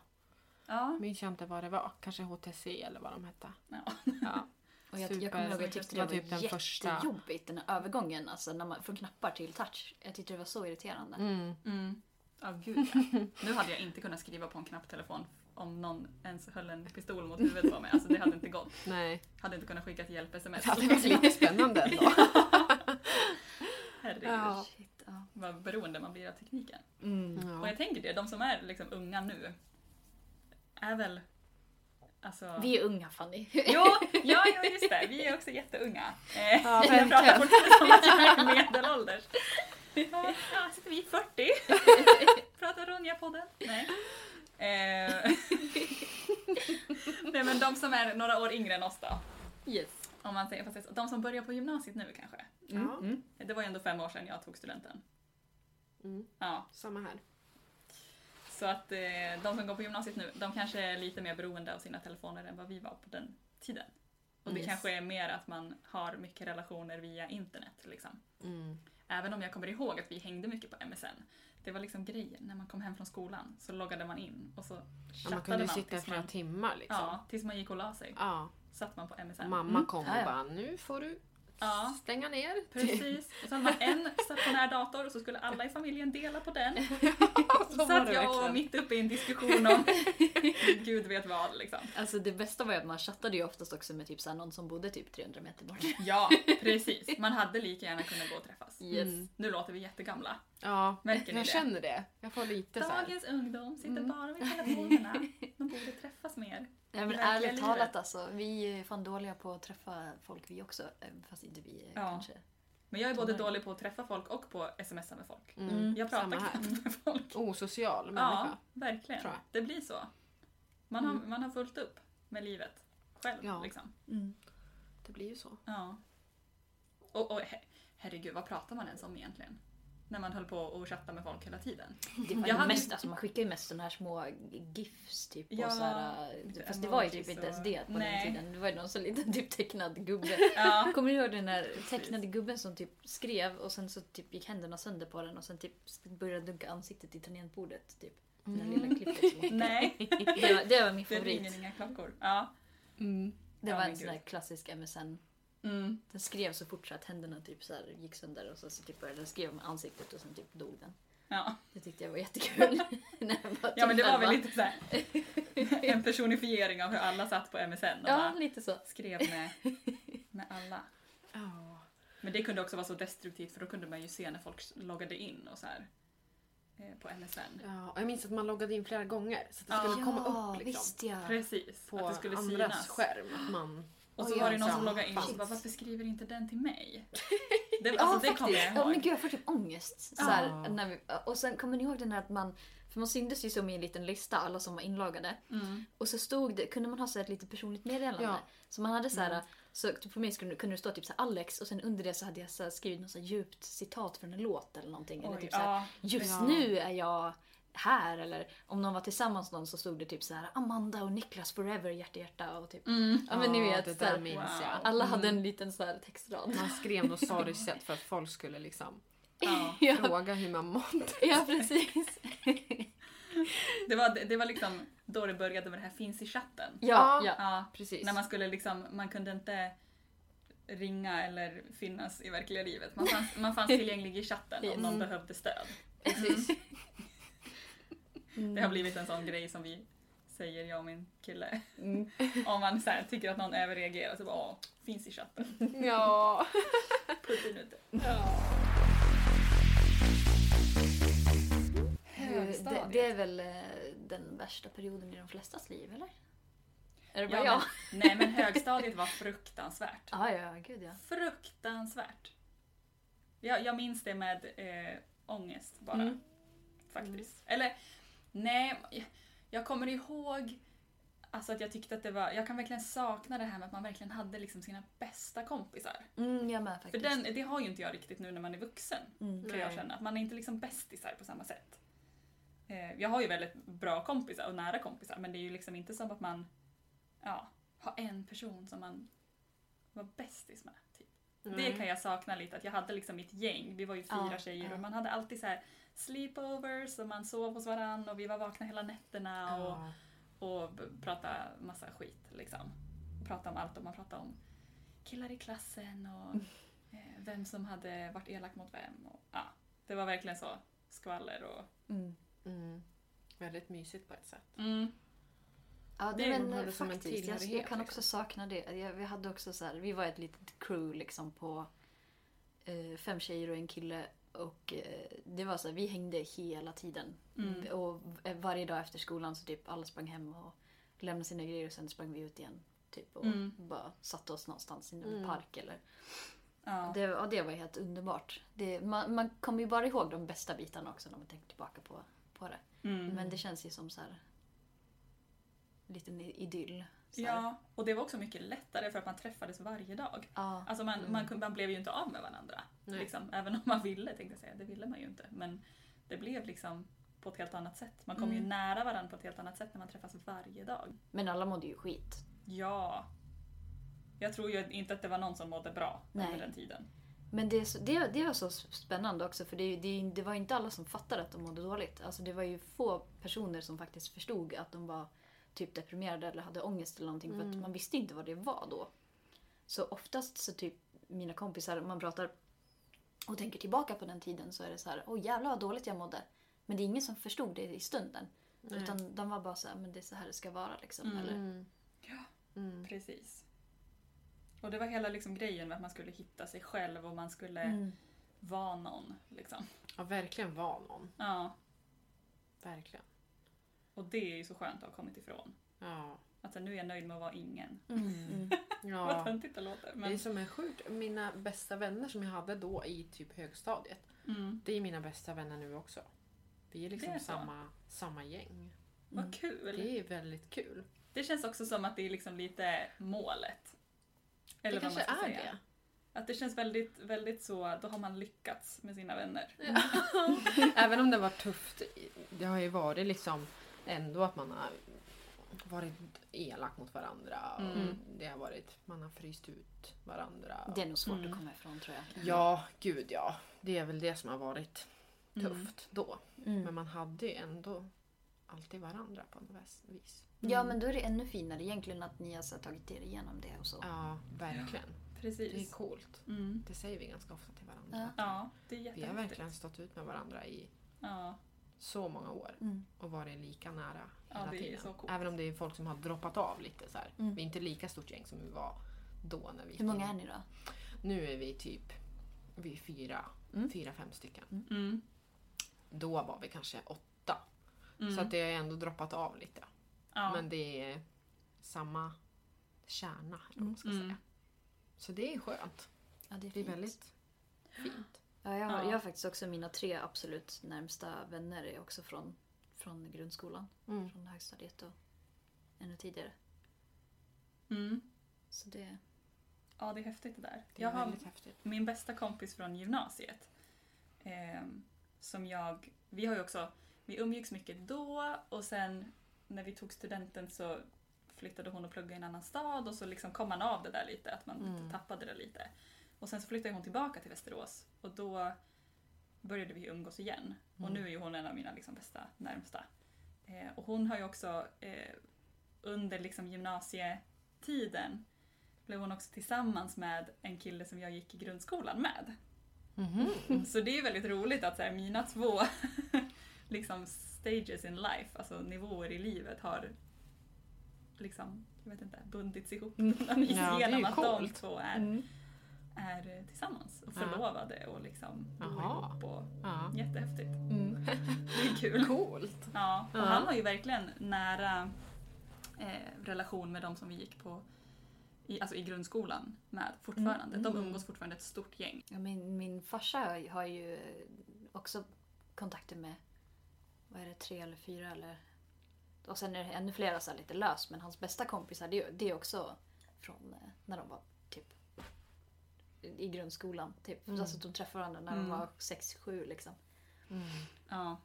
Ja.
Minns jag inte vad det var. Kanske HTC eller vad de hette.
Ja.
Ja.
Och jag, jag
Super-
kommer ihåg att jag tyckte det var
var typ den första-
jättejobbigt den här övergången. Alltså när man, från knappar till touch. Jag tyckte det var så irriterande.
Mm.
Mm. Ja, gud ja. Nu hade jag inte kunnat skriva på en knapptelefon om någon ens höll en pistol mot huvudet på mig. Alltså det hade inte gått.
Nej,
Hade inte kunnat skicka ett hjälp-sms.
det hade varit lite spännande ändå.
Herregud.
Ja.
Shit, ja.
Vad beroende man blir av tekniken. Och
Ja.
jag tänker det, de som är liksom unga nu är väl alltså...
Vi är unga Fanny.
Jo, ja, ja, just det. Vi är också jätteunga. Eh,
Ja,
jag pratar
verkligen.
fortfarande som att jag är medelålders. Ja, sitter vi 40? pratar Ronja-podden? Nej. Eh, Nej men de som är några år yngre än oss då.
Yes.
Om man säger, fast de som börjar på gymnasiet nu kanske.
Mm.
Ja.
Mm.
Det var ju ändå fem år sedan jag tog studenten.
Mm.
Ja,
Samma här.
Så att eh, de som går på gymnasiet nu, de kanske är lite mer beroende av sina telefoner än vad vi var på den tiden. Och det
Yes.
kanske är mer att man har mycket relationer via internet. Liksom.
Mm.
Även om jag kommer ihåg att vi hängde mycket på MSN. Det var liksom grejen, när man kom hem från skolan så loggade man in och så
Ja,
chattade
man kunde ju sitta i
tills
flera
man,
timmar liksom.
ja, tills man gick och la sig.
Ja.
Satt man på MSN.
Mamma
Mm.
kom och
Ja, ja.
bara, nu får du
Ja.
stänga ner.
Precis. Och så hade man en stationär dator och så skulle alla i familjen dela på den.
Och så
Så
var
satt
det
jag och
verkligen.
mitt uppe i en diskussion om gud vet vad liksom.
Alltså det bästa var ju att man chattade ju oftast också med typ så här, någon som bodde typ 300 meter bort.
Ja, precis. Man hade lika gärna kunnat gå och träffas.
Yes.
Nu låter vi jättegamla.
Ja,
Märker ni
jag
det?
känner det. Jag får lite så här. Mm.
Dagens ungdom sitter bara vid telefonerna. De borde träffas mer. I
Nej men
verkliga
ärligt
livet.
talat alltså. Vi är fan dåliga på att träffa folk vi också. eh, Fast inte vi eh,
Ja.
kanske.
Men jag är både
Tonåring.
dålig på att träffa folk och på att smsa med folk.
Mm.
Jag pratar
Samma här.
knappt med folk.
Osocial
Ja,
människa.
verkligen.
tror jag. Mm.
Det blir så. Man har, man har fullt upp med livet själv.
Ja.
Liksom.
Det blir ju så.
Ja. Och, och her- herregud, vad pratar man ens om egentligen? När man höll på och chatta med folk hela tiden.
Det var ju
Jag hade-
mest, alltså man skickar ju mest sådana här små GIFs typ.
Ja,
och så här, eh,
lite
fast det var ju typ
emojis
inte ens
och-
det på
Nej.
den tiden. Det var ju någon sån liten typ tecknad gubbe.
Ja,
Kommer du ihåg den där tecknade gubben som typ skrev och sen så typ gick händerna sönder på den och sen typ började dunka ansiktet i tangentbordet. Typ. Det
Mm.
där lilla klippet. som-
nej.
Det var, det var min
Det
favorit.
ringer inga klockor. Ja.
Det
Ja,
var
men
en sån
gud.
här klassisk MSN.
Mm.
Den skrev så fort så att händerna typ så här gick sönder och så, så typ började den skriva med ansiktet och sen typ dog den.
Ja.
Det tyckte jag var jättekul. När jag var
ja men det
typ
var väl
elva.
lite såhär en personifiering av hur alla satt på MSN och
Ja,
bara
lite så.
skrev med, med alla.
Ja.
Men det kunde också vara så destruktivt för då kunde man ju se när folk loggade in och så här eh, på MSN.
Ja, och jag minns att man loggade in flera gånger så att det
Ja.
skulle komma upp liksom,
visst ja.
Precis,
på
att det skulle
andras
synas.
skärm. Att man... alltså,
Och så
Oj, alltså,
var det
ja,
någon
så.
som loggade in och så
Shit.
bara varför skriver inte den till mig? Det,
Ja
alltså, det kommer
faktiskt.
jag
Ja, men
ihåg.
gud jag får typ ångest. Så
Ja.
här, när vi, och sen kommer ni ihåg den här att man, för man syntes ju som i en liten lista alla som var inloggade.
Mm.
Och så stod det, kunde man ha så här ett litet personligt meddelande.
Ja.
Så man hade så
Mm.
här, så typ på mig skulle, kunde det stå typ så här Alex och sen under det så hade jag så här skrivit något så här djupt citat från en låt eller någonting. eller
Oj,
typ så här,
ja.
Just
Ja.
nu är jag här eller om de var tillsammans någon så stod det typ så här Amanda och Niklas forever hjärta hjärta och typ.
Mm.
Ja men ni vet,
det
så
där
här,
minns
Wow.
jag.
alla hade
Mm.
en liten så här textrad.
Man skrev något sorgset för att folk skulle liksom
Ja.
Ja,
fråga hur man mådde.
ja precis.
Det, var, det var liksom då det började med det här finns i chatten.
Ja, ja.
Ja.
Precis.
När man skulle liksom, man kunde inte ringa eller finnas i verkliga livet. Man fanns, man fanns tillgänglig i chatten om någon
Mm.
behövde stöd.
Precis.
Det har blivit en sån grej som vi säger, jag och min kille.
Mm.
Om man så här, tycker att någon överreagerar så bara åh, finns i chatten.
Ja.
Puttinutte.
Mm. Det,
Högstadiet.
det är väl eh, den värsta perioden i de flestas liv eller? Är det
Ja,
bara jag?
Men, nej men högstadiet var fruktansvärt.
Ja, ja, gud ja.
Fruktansvärt. Jag, jag minns det med eh, ångest bara.
Mm.
Faktiskt. Eller nej, jag- jag kommer ihåg alltså att jag tyckte att det var, jag kan verkligen sakna det här med att man verkligen hade liksom sina bästa kompisar.
Mm, jag med
För
faktiskt.
den, det har ju inte jag riktigt nu när man är vuxen.
Mm.
Kan
Nej.
jag känna. Att man är inte liksom bästisar på samma sätt. Eh, jag har ju väldigt bra kompisar och nära kompisar men det är ju liksom inte som att man ja, har en person som man var bästis med. Typ.
Mm.
Det kan jag sakna lite, att jag hade liksom mitt gäng. Vi var ju fyra
Mm. Ja,
tjejer
ja.
och man hade alltid så här sleepovers och man sov hos varann och vi var vakna hela nätterna och, och b- pratade massa skit. Liksom. Pratade om allt och man pratade om killar i klassen och
Mm.
eh, vem som hade varit elak mot vem. Och, ja, det var verkligen så skvaller och...
Mm.
Mm. Väldigt mysigt på ett sätt.
Mm,
Ja,
Det
det
är-
men eh,
man hade som en
faktiskt. Jag, jag
tillhörighet,
kan
liksom.
också sakna det. Jag, vi hade också så här, vi var ett litet crew liksom på eh, fem tjejer och en kille. Och eh, det var så här, vi hängde hela tiden.
Mm.
Och v- varje dag efter skolan så typ alla sprang hem och lämnade sina grejer och sen sprang vi ut igen. Typ och
Mm.
bara satte oss någonstans i en
Mm.
park eller.
ja.
Det, ja, det var helt underbart. Det, man, man kommer ju bara ihåg de bästa bitarna också när man tänker tillbaka på, på det.
Mm.
Men det känns ju som så här liten i- idyll. Så här.
Ja, och det var också mycket lättare för att man träffades varje dag.
Ja.
Alltså man,
Mm.
man, kunde- man blev ju inte av med varandra.
Nej.
Liksom, även om man ville tänkte jag säga, det ville man ju inte. Men det blev liksom på ett helt annat sätt. Man kom ju
Mm.
nära varandra på ett helt annat sätt när man träffas varje dag.
Men alla mådde ju skit.
Ja. Jag tror ju inte att det var någon som mådde bra
Nej.
under den tiden.
Men det, är så- det, det var så spännande också för det, det, det var inte alla som fattade att de mådde dåligt. Alltså det var ju få personer som faktiskt förstod att de var typ deprimerade eller hade ångest eller någonting för att man visste inte vad det var då. Så oftast så typ mina kompisar, om man pratar och tänker tillbaka på den tiden så är det så här, åh jävlar vad dåligt jag mådde. Men det är ingen som förstod det i stunden.
Nej.
Utan de var bara så här, men det är så här det ska vara liksom.
Mm.
Eller,
Mm.
Ja.
Mm.
Precis. Och det var hela liksom grejen med att man skulle hitta sig själv och man skulle
mm.
vara någon. Liksom.
Ja, verkligen var någon.
Ja.
Verkligen.
Och det är ju så skönt att ha kommit ifrån.
Ja.
Att nu är jag nöjd med att vara ingen.
Mm. Mm.
Vad
ja.
töntigt det låter.
Det är
Men...
som är sjukt. Mina bästa vänner som jag hade då i typ högstadiet.
Mm.
Det är mina bästa vänner nu också. Vi är liksom
Det är så.
samma, samma gäng.
Vad kul!
Det är väldigt kul.
Det känns också som att det är liksom lite målet.
det kanske är det.
Att det känns väldigt, väldigt så, då har man lyckats med sina vänner.
Även om det var tufft. Det har ju varit liksom ändå att man har varit elak mot varandra. Och
Mm.
det har varit, man har fryst ut varandra.
Det är nog svårt
Mm.
att komma ifrån tror jag.
Ja, gud ja. Det är väl det som har varit
Mm.
tufft då.
Mm.
Men man hade ju ändå alltid varandra på något väs- vis.
Ja, men då är det ännu finare egentligen att ni har så här tagit er igenom det och så.
Ja, verkligen. Mm. Det är
Precis.
coolt.
Mm.
Det säger vi ganska ofta till varandra.
Ja.
att
Ja, det är
Vi har
jättehäftigt.
verkligen stått ut med varandra i
Ja,
så många år
Mm.
och varit lika nära
Ja,
hela
det är
tiden.
så coolt.
Även om det är folk som har droppat av lite så här.
Mm.
Vi är inte lika stort gäng som vi var då när vi gick
Hur många
in.
är ni då?
Nu är vi typ vi är fyra,
Mm.
fyra, fem stycken.
mm.
Då var vi kanske åtta.
Mm.
Så att det har ändå droppat av lite.
ja.
Men det är samma kärna, eller vad man ska
Mm.
säga. Så det är skönt.
Ja, det är
Det är
fint.
väldigt fint.
Ja, jag, har,
Ja.
jag har faktiskt också mina tre absolut närmsta vänner är också från, från grundskolan.
Mm.
Från högstadiet och ännu tidigare.
Mm.
Så det...
ja, det är häftigt det där.
Det är
jag har
väldigt häftigt.
typ min bästa kompis från gymnasiet. ehm, som jag, vi har ju också, vi umgicks mycket då och sen när vi tog studenten så flyttade hon och pluggade i en annan stad och så liksom kom man av det där lite, att man
Mm.
tappade det lite. Och sen så flyttade hon tillbaka till Västerås och då började vi umgås igen. Och
Mm.
nu är ju hon en av mina liksom bästa, närmsta. Eh, och hon har ju också eh, under liksom gymnasietiden blev hon också tillsammans med en kille som jag gick i grundskolan med.
Mm.
Så det är väldigt roligt att så här, mina två liksom stages in life, alltså nivåer i livet har liksom, jag vet inte, bundits ihop på
Mm.
något vis
Ja, det är ju
genom att de
coolt.
två är, är tillsammans och
Ja.
förlovade och liksom bor
Jaha.
ihop. Och,
Ja.
jättehäftigt.
Mm.
Det är kul.
Coolt!
Ja, och
Ja.
han var ju verkligen nära eh, relation med de som vi gick på i, alltså i grundskolan med fortfarande.
Mm.
De umgås fortfarande ett stort gäng.
Ja, min, min farsa har- har ju också kontakter med, vad är det, tre eller fyra eller... Och sen är det ännu flera så här lite löst, men hans bästa kompisar det, är- det är också från eh, när de var typ i grundskolan. Typ.
Mm.
Alltså att de träffade varandra när
Mm.
de var sex sju liksom.
Ja.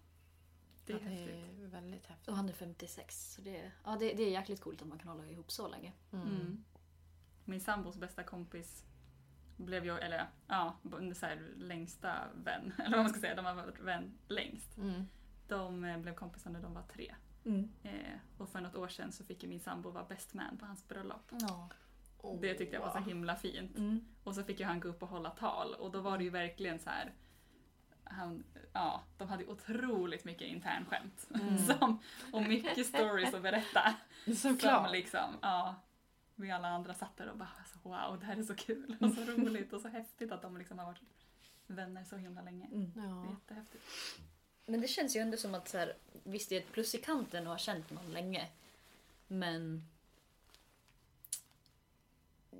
Det är
ja,
häftigt.
det är väldigt häftigt.
Och han är 56. Så det, ja, det, det är jäkligt coolt att man kan hålla ihop så länge.
Mm. Min sambos bästa kompis blev ju, eller ja, b- så här, längsta vän, eller vad man ska säga, de har varit vän längst.
Mm.
De eh, blev kompisar när de var Mm. tre. Eh, och för något år sedan så fick ju min sambo vara best man på hans bröllop.
Ja.
Det tyckte jag var så himla fint.
Mm.
Och så fick ju han gå upp och hålla tal och då var det ju verkligen så här. Han, ja, de hade ju otroligt mycket internskämt
Mm.
som, och mycket stories att berätta.
Såklart.
Som liksom, ja, vi alla andra satt där och bara alltså, wow, det här är så kul och så roligt och så häftigt att de liksom har varit vänner så himla länge. Det är
Ja.
jättehäftigt.
Men det känns ju ändå som att så här, visst det är ett plus i kanten att ha känt någon länge. Men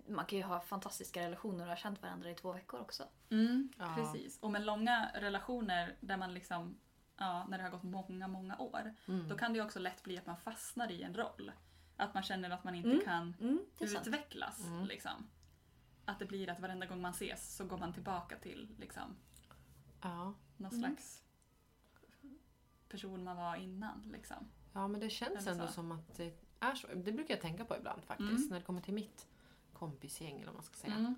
man kan ju ha fantastiska relationer och ha känt varandra i två veckor också.
Ja.
Mm, Precis. Och med långa relationer där man liksom, ja, när det har gått många, många år,
Mm.
då kan det ju också lätt bli att man fastnar i en roll. Att man känner att man inte kan
Mm, det är sant.
utvecklas.
Mm.
Liksom. Att det blir att varenda gång man ses så går man tillbaka till liksom,
Ja.
någon slags person man var innan. Liksom.
ja, men det känns
Eller
ändå
så.
som att det är så. Det brukar jag tänka på ibland faktiskt.
Mm.
När det kommer till mitt kompisgäng eller vad man ska säga.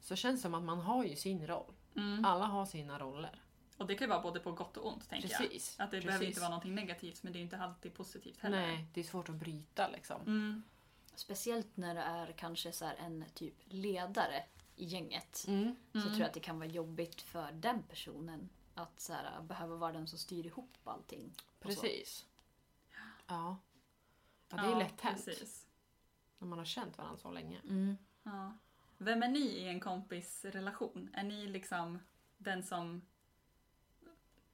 Så känns det som att man har ju sin roll.
Mm.
Alla har sina roller.
Och det kan ju vara både på gott och ont tänker
Precis.
jag. Att det
Precis.
behöver inte vara någonting negativt men det är ju inte alltid positivt heller.
Nej, det är svårt att bryta liksom.
Mm.
Speciellt när det är kanske så här en typ ledare i gänget.
Mm.
Så tror jag att det kan vara jobbigt för den personen att så här, behöva vara den som styr ihop allting. och så.
Precis. Ja. ja, det är lätt hänt
precis.
när man har känt varandra så länge.
Mm.
Ja. Vem är ni i en kompisrelation? Är ni liksom den som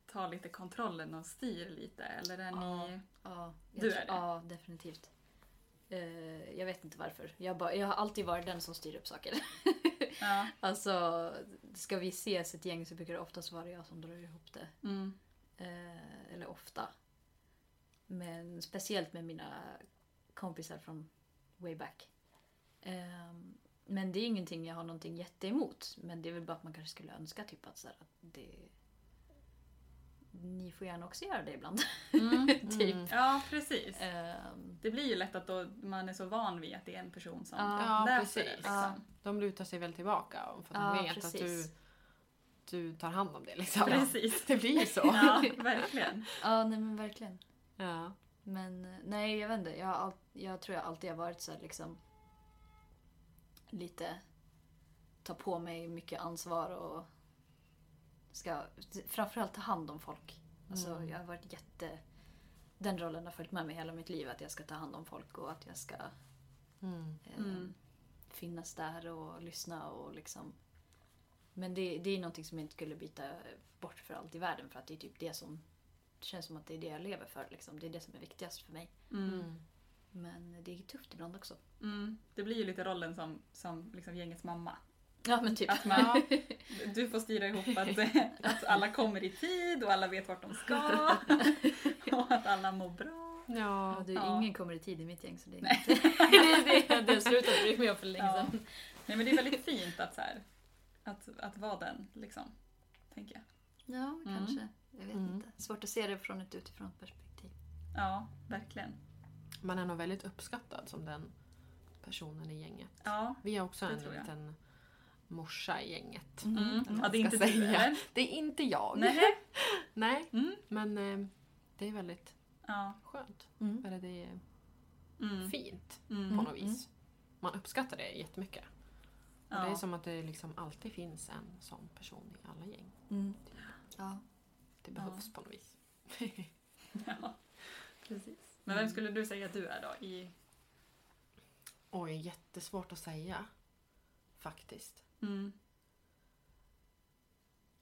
tar lite kontrollen och styr lite? Eller är
Ja.
ni...
Ja, jag
Du
tror-
är det?
Ja, definitivt. Eh, jag vet inte varför. Jag, bara, jag har alltid varit den som styr upp saker.
Ja.
Alltså, ska vi ses ett gäng så brukar det oftast vara jag som drar ihop det.
Mm.
Eh, eller ofta. Men speciellt med mina kompisar från way back. Ehm, men det är ingenting jag har någonting jätteemot. Men det är väl bara att man kanske skulle önska typ att, så här, att det... Ni får gärna också göra det ibland.
Mm.
typ.
Mm.
ja,
Eh,
precis.
Ehm,
Det blir ju lätt att då man är så van vid att det är en person som
Ja.
Ja,
löser det.
precis.
Liksom.
De lutar sig väl tillbaka för att
Ja,
de vet att
precis.
du, du tar hand om det. Liksom.
Precis.
Det blir ju så.
Ja, verkligen.
ja, nej men verkligen.
Ja.
Men eh, nej, jag vet inte. Jag, har all, jag tror jag alltid har varit så här, liksom lite ta på mig mycket ansvar och ska framförallt ta hand om folk. Alltså, Jag har varit jätte... Den rollen har följt med mig hela mitt liv, att jag ska ta hand om folk och att jag ska
Mm.
eh, finnas där och lyssna och liksom... Men det, det är någonting som jag inte skulle byta bort för allt i världen för att det är typ det som... Det känns som att det är det jag lever för liksom. Det är det som är viktigast för mig.
Mm.
Men det är tufft ibland också.
Mm. Det blir ju lite rollen som, som liksom gängets mamma.
Ja men typ.
Att man, du får styra ihop att, att alla kommer i tid och alla vet vart de ska. Och att alla mår bra.
Ja,
Ja.
du,
Ja.
Ingen kommer i tid i mitt gäng så det är inget. det, det, det har slutat bry mig om för länge
Ja.
sedan.
Nej, men det är väldigt fint att, så här, att, att vara den, liksom. Tänker jag.
Ja, kanske. Jag vet
Mm.
inte. Svårt att se det från ett utifrån perspektiv.
Ja, verkligen.
Man är nog väldigt uppskattad som den personen i gänget.
Ja,
Vi har också
Det
en
tror jag.
liten morsa i gänget.
mm.
om
ja
man
det är inte
ska
du,
säga.
eller?
Det är inte jag.
Nej.
Nej.
Mm.
Men eh, det är väldigt
Ja.
skönt.
Mm.
Eller det är
Mm.
fint på
Mm.
något vis. Man uppskattar det jättemycket. Och det är
Ja.
som att det liksom alltid finns en sån person i alla gäng.
Mm.
Ja.
Det behövs på något vis.
Ja.
Precis.
Men
Mm.
vem skulle du säga att du är då? I...
Oj, jättesvårt att säga. Faktiskt.
Mm.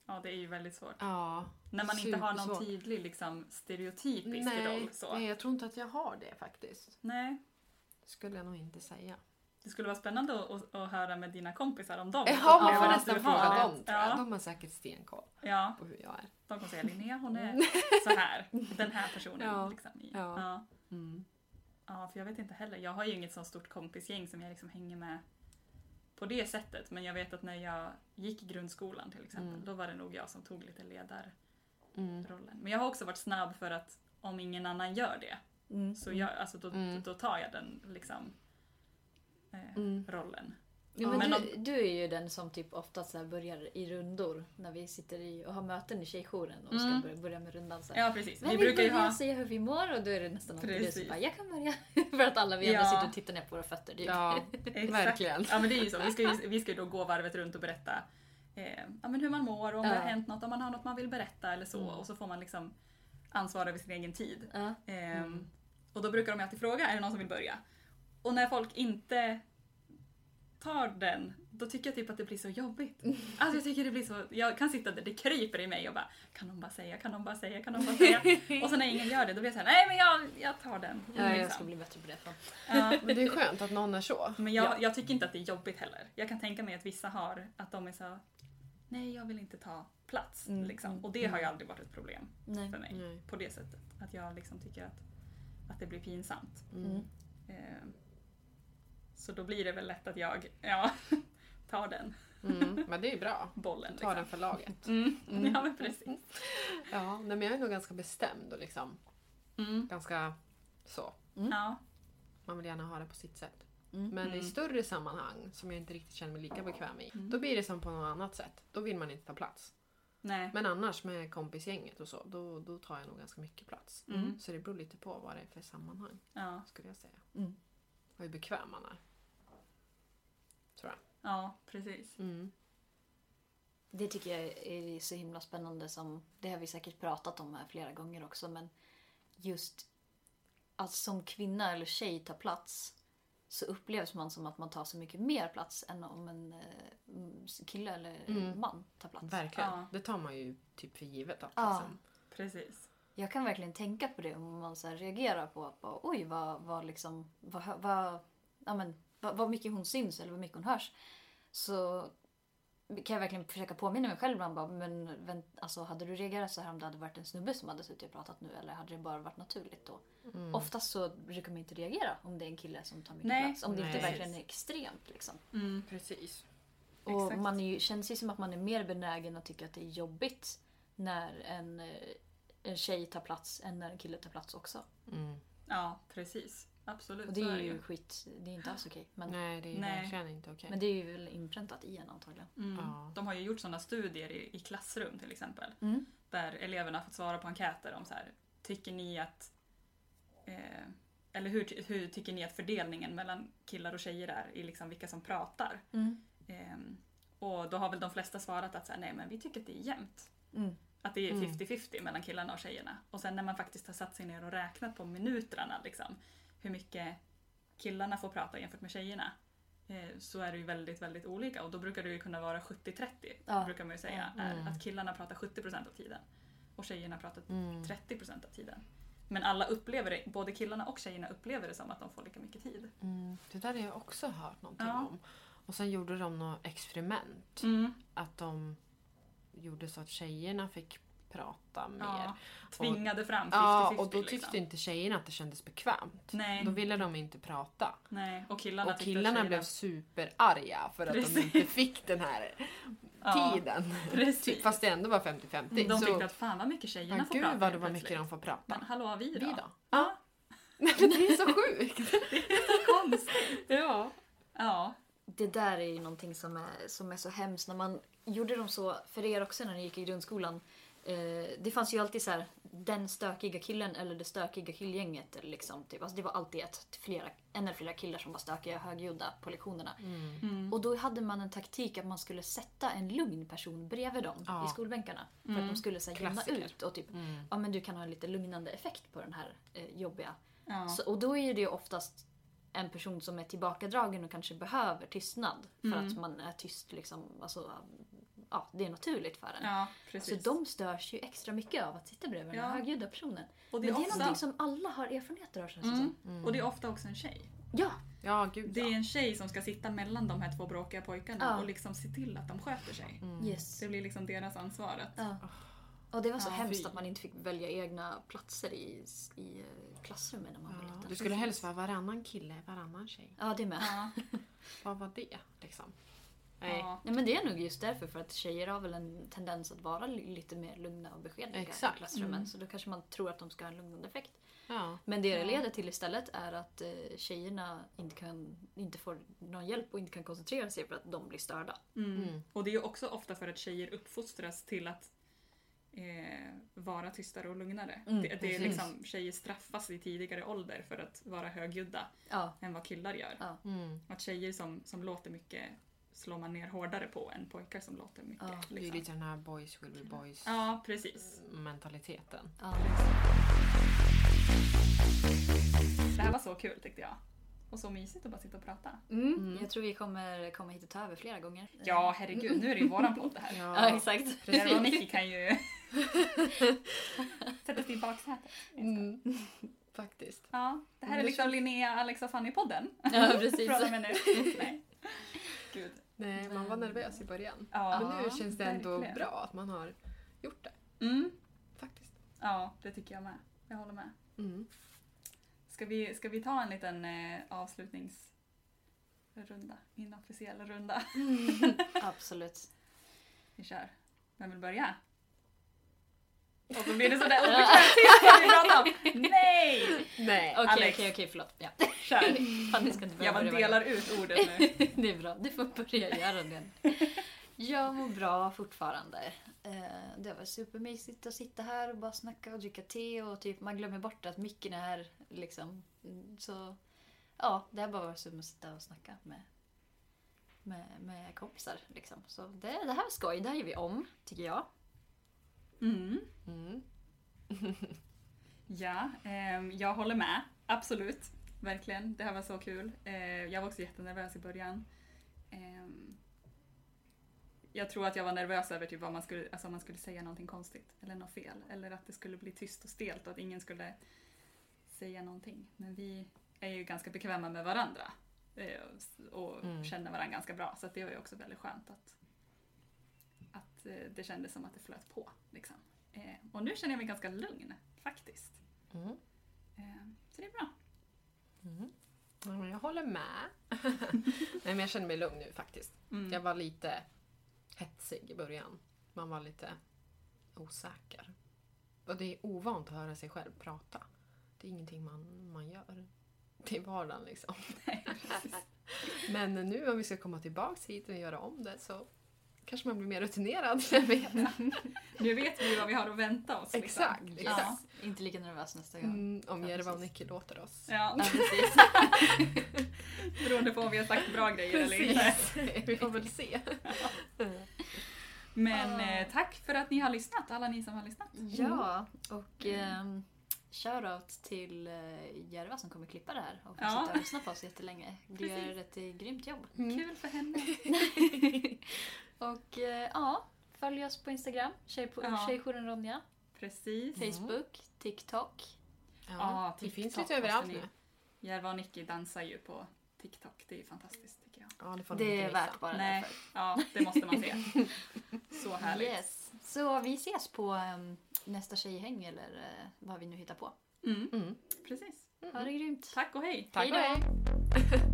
Ja, det är ju väldigt svårt.
Ja.
När man inte har någon
Supersvårt.
tydlig liksom, stereotypisk roll. Så.
nej, jag tror inte att jag har det faktiskt.
nej.
Skulle jag nog inte säga.
Det skulle vara spännande att, att, att höra med dina kompisar om dem.
Ja, man
Upplever
får
att
nästan
du har
fråga
det.
dem. tror jag.
Ja,
De har säkert stenkoll
ja,
på hur jag är.
de kommer säga Linnea hon är så här. Den här personen.
Ja,
Liksom, i.
ja.
Ja.
Mm.
ja, för jag vet inte heller. Jag har ju inget så stort kompisgäng som jag liksom hänger med på det sättet. Men jag vet att när jag gick i grundskolan till exempel,
Mm.
då var det nog jag som tog lite ledarrollen.
Mm.
Men jag har också varit snabb för att om ingen annan gör det,
Mm.
så jag, alltså, då,
Mm.
då tar jag den liksom, eh,
Mm.
rollen.
Jo, men
men
du, du är ju den som typ ofta så här börjar i rundor när vi sitter i och har möten i tjejjouren och ska
Mm.
börja, börja med rundan. Så här.
Ja precis.
Men
Vi brukar ju
börjar
ha...
säga hur vi mår och då är det nästan alltid du som
Precis.
bara “jag kan börja” för att alla vi andra
Ja.
sitter och tittar ner på våra fötter. Typ.
Ja,
Exakt.
verkligen.
Ja men det är ju så. Vi ska ju, vi ska ju då gå varvet runt och berätta eh, ja, men hur man mår och om det
Ja.
har hänt något, om man har något man vill berätta eller så.
Mm.
Och så får man liksom ansvara över sin egen tid.
Ja.
Ehm,
Mm.
Och då brukar de ju alltid fråga, är det någon som vill börja? Och när folk inte tar den, då tycker jag typ att det blir så jobbigt. Alltså jag tycker det blir så, jag kan sitta där, det kryper i mig och bara kan de bara säga, kan de bara säga, kan de bara säga? Och så när ingen gör det då blir jag såhär, nej men jag, jag tar den.
Ja, jag
liksom.
ska bli bättre på det. Fan.
Ja.
Men det är skönt att någon är så.
Men jag, jag tycker inte att det är jobbigt heller. Jag kan tänka mig att vissa har att de är så nej jag vill inte ta plats.
Mm, mm,
Liksom. Och det har ju aldrig varit ett problem
Nej.
för mig
Nej.
på det sättet. Att jag liksom tycker att, att det blir pinsamt.
Mm.
Eh, så då blir det väl lätt att jag ja, tar den
Mm. Men det är bra.
bollen.
Ta den
Liksom.
för laget.
Mm. Ja men precis.
Ja, nej, men jag är nog ganska bestämd och liksom
Mm.
ganska så.
Ja.
Man vill gärna ha det på sitt sätt.
Mm.
Men i
Mm.
större sammanhang som jag inte riktigt känner mig lika bekväm i, då blir det som på något annat sätt. Då vill man inte ta plats.
Nej.
Men annars med kompisgänget och så, då, då tar jag nog ganska mycket plats.
Mm.
Så det beror lite på vad det är för sammanhang,
Ja.
skulle jag säga.
Mm.
Och hur bekväm man är. Tror jag.
ja, precis.
Mm.
Det tycker jag är så himla spännande. Som, det har vi säkert pratat om här flera gånger också. Men just att som kvinna eller tjej ta plats så upplevs man som att man tar så mycket mer plats än om en eh, mm, kille eller
Mm.
man tar plats.
Verkligen.
Ja.
Det tar man ju typ för givet. Att,
Ja.
liksom.
Precis.
Jag kan verkligen tänka på det om man så här reagerar på att bara, oj vad, vad liksom vad, hö- vad, ja, men, vad, vad mycket hon syns eller vad mycket hon hörs. Så kan jag verkligen försöka påminna mig själv ibland bara, men vänt, alltså, hade du reagerat så här om det hade varit en snubbe som hade suttit och pratat nu eller hade det bara varit naturligt då?
Mm.
Oftast så brukar man inte reagera om det är en kille som tar mycket
Nej.
plats. Om det
Nej.
inte verkligen är extremt liksom.
Mm.
Precis.
Och
Exakt.
man är ju, känns ju som att man är mer benägen att tycka att det är jobbigt när en, eh, en tjej tar plats än när en kille tar plats också.
Mm.
Ja, precis. Absolut.
Och det
så
är ju skit, det är inte alls okej. Men,
Nej, det är ju
Nej.
verkligen inte okej.
men det är ju väl inpräntat i en antagligen.
Mm.
Ja.
De har ju gjort sådana studier i, i klassrum till exempel.
Mm.
Där eleverna har fått svara på enkäter om så här, tycker ni att eh, eller hur, ty- hur tycker ni att fördelningen mellan killar och tjejer är i liksom vilka som pratar? Ehm, och då har väl de flesta svarat att så här, nej men vi tycker att det är jämnt.
Mm.
Att det är
Mm.
50-50 mellan killarna och tjejerna. Och sen när man faktiskt har satt sig ner och räknat på minutrarna, liksom, hur mycket killarna får prata jämfört med tjejerna, eh, så är det ju väldigt, väldigt olika. Och då brukar det ju kunna vara 70-30,
Ja.
brukar man ju säga. Är
Mm.
Att killarna pratar 70% av tiden och tjejerna pratar
Mm.
30% av tiden. Men alla upplever det, både killarna och tjejerna upplever det som att de får lika mycket tid.
Mm, det där har jag också hört någonting
Ja.
om. Och sen gjorde de något experiment.
Mm.
Att de gjorde så att tjejerna fick prata mer.
Ja.
Ja,
Tvingade fram 50-50.
ja och då tyckte
liksom.
inte tjejerna att det kändes bekvämt.
Nej.
Då ville de inte prata.
Nej. Och killarna,
Och
tyckte att
killarna
tjejerna-
blev superarga för att de
Precis.
inte fick den här
Ja,
tiden.
Precis.
Typ, fast det ändå var 50-50.
De
så,
tyckte att fan vad mycket tjejerna
ja,
får prata
gud vad det var
helt
mycket
plötsligt.
de får
Men
prata.
hallå, vi
Vi
då?
då? Ja. Nej, men det är så sjukt.
Konstigt.
ja.
Ja.
Det där är ju någonting som är, som är så hemskt. När man gjorde dem så, för er också när ni gick i grundskolan. Eh, det fanns ju alltid så här, den stökiga killen eller det stökiga killgänget. Eller liksom, typ. alltså, det var alltid ett, flera, en eller flera killar som var stökiga och högljudda på lektionerna.
Mm.
Och då hade man en taktik att man skulle sätta en lugn person bredvid dem
Ja.
i skolbänkarna. För att de skulle så här, jämna
Klassiker. Mm.
ut och typ, ja men du kan ha en lite lugnande effekt på den här eh, jobbiga.
Ja.
Så, och då är det ju oftast en person som är tillbakadragen och kanske behöver tystnad. För
Mm.
att man är tyst liksom, alltså, ja det är naturligt för en.
ja,
Så
precis.
de störs ju extra mycket av att sitta bredvid den
Ja.
här högljudda personen.
och, det
Men
är
det är någonting
ofta,
som alla har erfarenheter av känns det
mm.
som.
och det är ofta också en tjej.
Ja!
Ja, gud
Det är
ja.
en tjej som ska sitta mellan de här två bråkiga pojkarna
Ja.
och liksom se till att de sköter sig.
Mm.
Yes.
Det blir liksom deras ansvar. Att,
Ja. Och det var så
Ja,
hemskt
fy.
att man inte fick välja egna platser i, i eh, klassrummen när man var
Ja,
liten.
du skulle helst vara varannan kille, varannan tjej.
Ja, det med.
ja.
Vad var det? Liksom. Nej.
Ja.
Nej men det är nog just därför för att tjejer har väl en tendens att vara li- lite mer lugna och beskedliga
Exakt.
i klassrummen.
Mm.
Så då kanske man tror att de ska ha en lugnande effekt.
Ja.
Men det det
Ja.
leder till istället är att eh, tjejerna inte, kan, inte får någon hjälp och inte kan koncentrera sig för att de blir störda.
Mm.
Mm.
Och det är ju också ofta för att tjejer uppfostras till att eh, vara tystare och lugnare.
Mm,
det, det är
precis.
liksom, tjejer straffas vid tidigare ålder för att vara högljudda
Ja,
än vad killar gör.
Mm.
Att tjejer som, som låter mycket slår man ner hårdare på än pojkar som låter mycket.
Ja,
Det är ju
liksom.
lite den här boys will be boys
ja precis.
mentaliteten.
ja.
Det här var så kul tyckte jag. Och så mysigt att bara sitta och prata.
Mm. Jag tror vi kommer komma hit och ta över flera gånger.
Ja, herregud, nu är det ju våran podd det här.
ja exakt.
Precis. och Nicky kan ju sätta sig i baksätet.
Mm. Faktiskt.
Ja, det här är
Det
liksom
känns-
Linnea, Alexa och Fanny-podden.
Ja, precis.
Från och med nu. Nej. Gud.
Nej, man var
Men-
nervös i början.
Ja.
Men nu känns det ändå
verkligen.
bra att man har gjort det.
Mm.
Faktiskt.
Ja, det tycker jag med. Jag håller med.
Mm.
Ska vi, ska vi ta en liten eh, avslutningsrunda? Inofficiell runda.
Absolut.
Vi kör. Vem vill börja? Och så blir det sådär oförtjänt tyst när vi pratar om. Nej!
Nej.
Okej,
Alex.
okej, okej, förlåt. Ja.
Kör.
Fan, ni ska inte
Jag bara
börja börja varje
delar ut ordet nu.
Det är bra, du får börja göra det. Jag mår bra fortfarande. Eh, Det var supermysigt att sitta här och bara snacka och dricka te och typ man glömmer bort att micken är här liksom. Mm, Så ja, det har bara varit som att sitta och snacka med, med, med kompisar liksom. Så det, det här var skoj, det här gör vi om, tycker jag.
Mm.
Mm.
Ja, ehm, jag håller med. Absolut. Verkligen. Det här var så kul. Eh, jag var också jättenervös i början. Ehm, jag tror att jag var nervös över typ vad man skulle, alltså om man skulle säga någonting konstigt eller något fel. Eller att det skulle bli tyst och stelt och att ingen skulle säga någonting. Men vi är ju ganska bekväma med varandra eh, och s- och
Mm.
känner varandra ganska bra. Så att det var ju också väldigt skönt att, att eh, det kändes som att det flöt på. Liksom. Eh, och nu känner jag mig ganska lugn faktiskt.
Mm.
Eh, Så det är bra.
Mm. Ja, men Jag håller med. Nej, men jag känner mig lugn nu faktiskt.
Mm.
Jag var lite hetsig i början. Man var lite osäker. Och det är ovant att höra sig själv prata. Det är ingenting man, man gör till vardagen liksom. Men nu om vi ska komma tillbaks hit och göra om det så kanske man blir mer rutinerad. Jag vet.
Nu vet vi vad vi har att vänta oss. Liksom.
Exakt,
Ja.
exakt.
Inte lika nervös nästa gång.
Mm, om
Ja,
Jerva och
precis.
Nicky låter oss.
Ja,
Ja, precis.
beroende på om vi har sagt bra grejer eller inte.
Vi får väl se.
Men eh, tack för att ni har lyssnat, alla ni som har lyssnat. Mm.
Ja, och ehm, shoutout till eh, Järva som kommer klippa det här och
Ja.
sitta och lyssna på oss jättelänge. Du
Precis.
gör ett eh, grymt jobb.
Mm.
Kul för henne.
och eh, ja, följ oss på Instagram, tjej på,
Ja.
Tjejjouren Ronja,
Precis.
Mm.
Facebook, TikTok.
Ja,
det finns
TikTok
lite överallt
måste ni-
nu.
Järva och Nicky dansar ju på TikTok, det är ju fantastiskt tycker jag.
Ja, det får ni
Det
inte
är
missa.
värt bara
Nej,
därför.
ja det måste man se. Så härligt.
Yes. Så vi ses på ehm, nästa tjejhäng eller eh, vad vi nu hittar på.
Mm,
Mm.
precis.
Ha det grymt!
Tack och hej!
Tack och hej!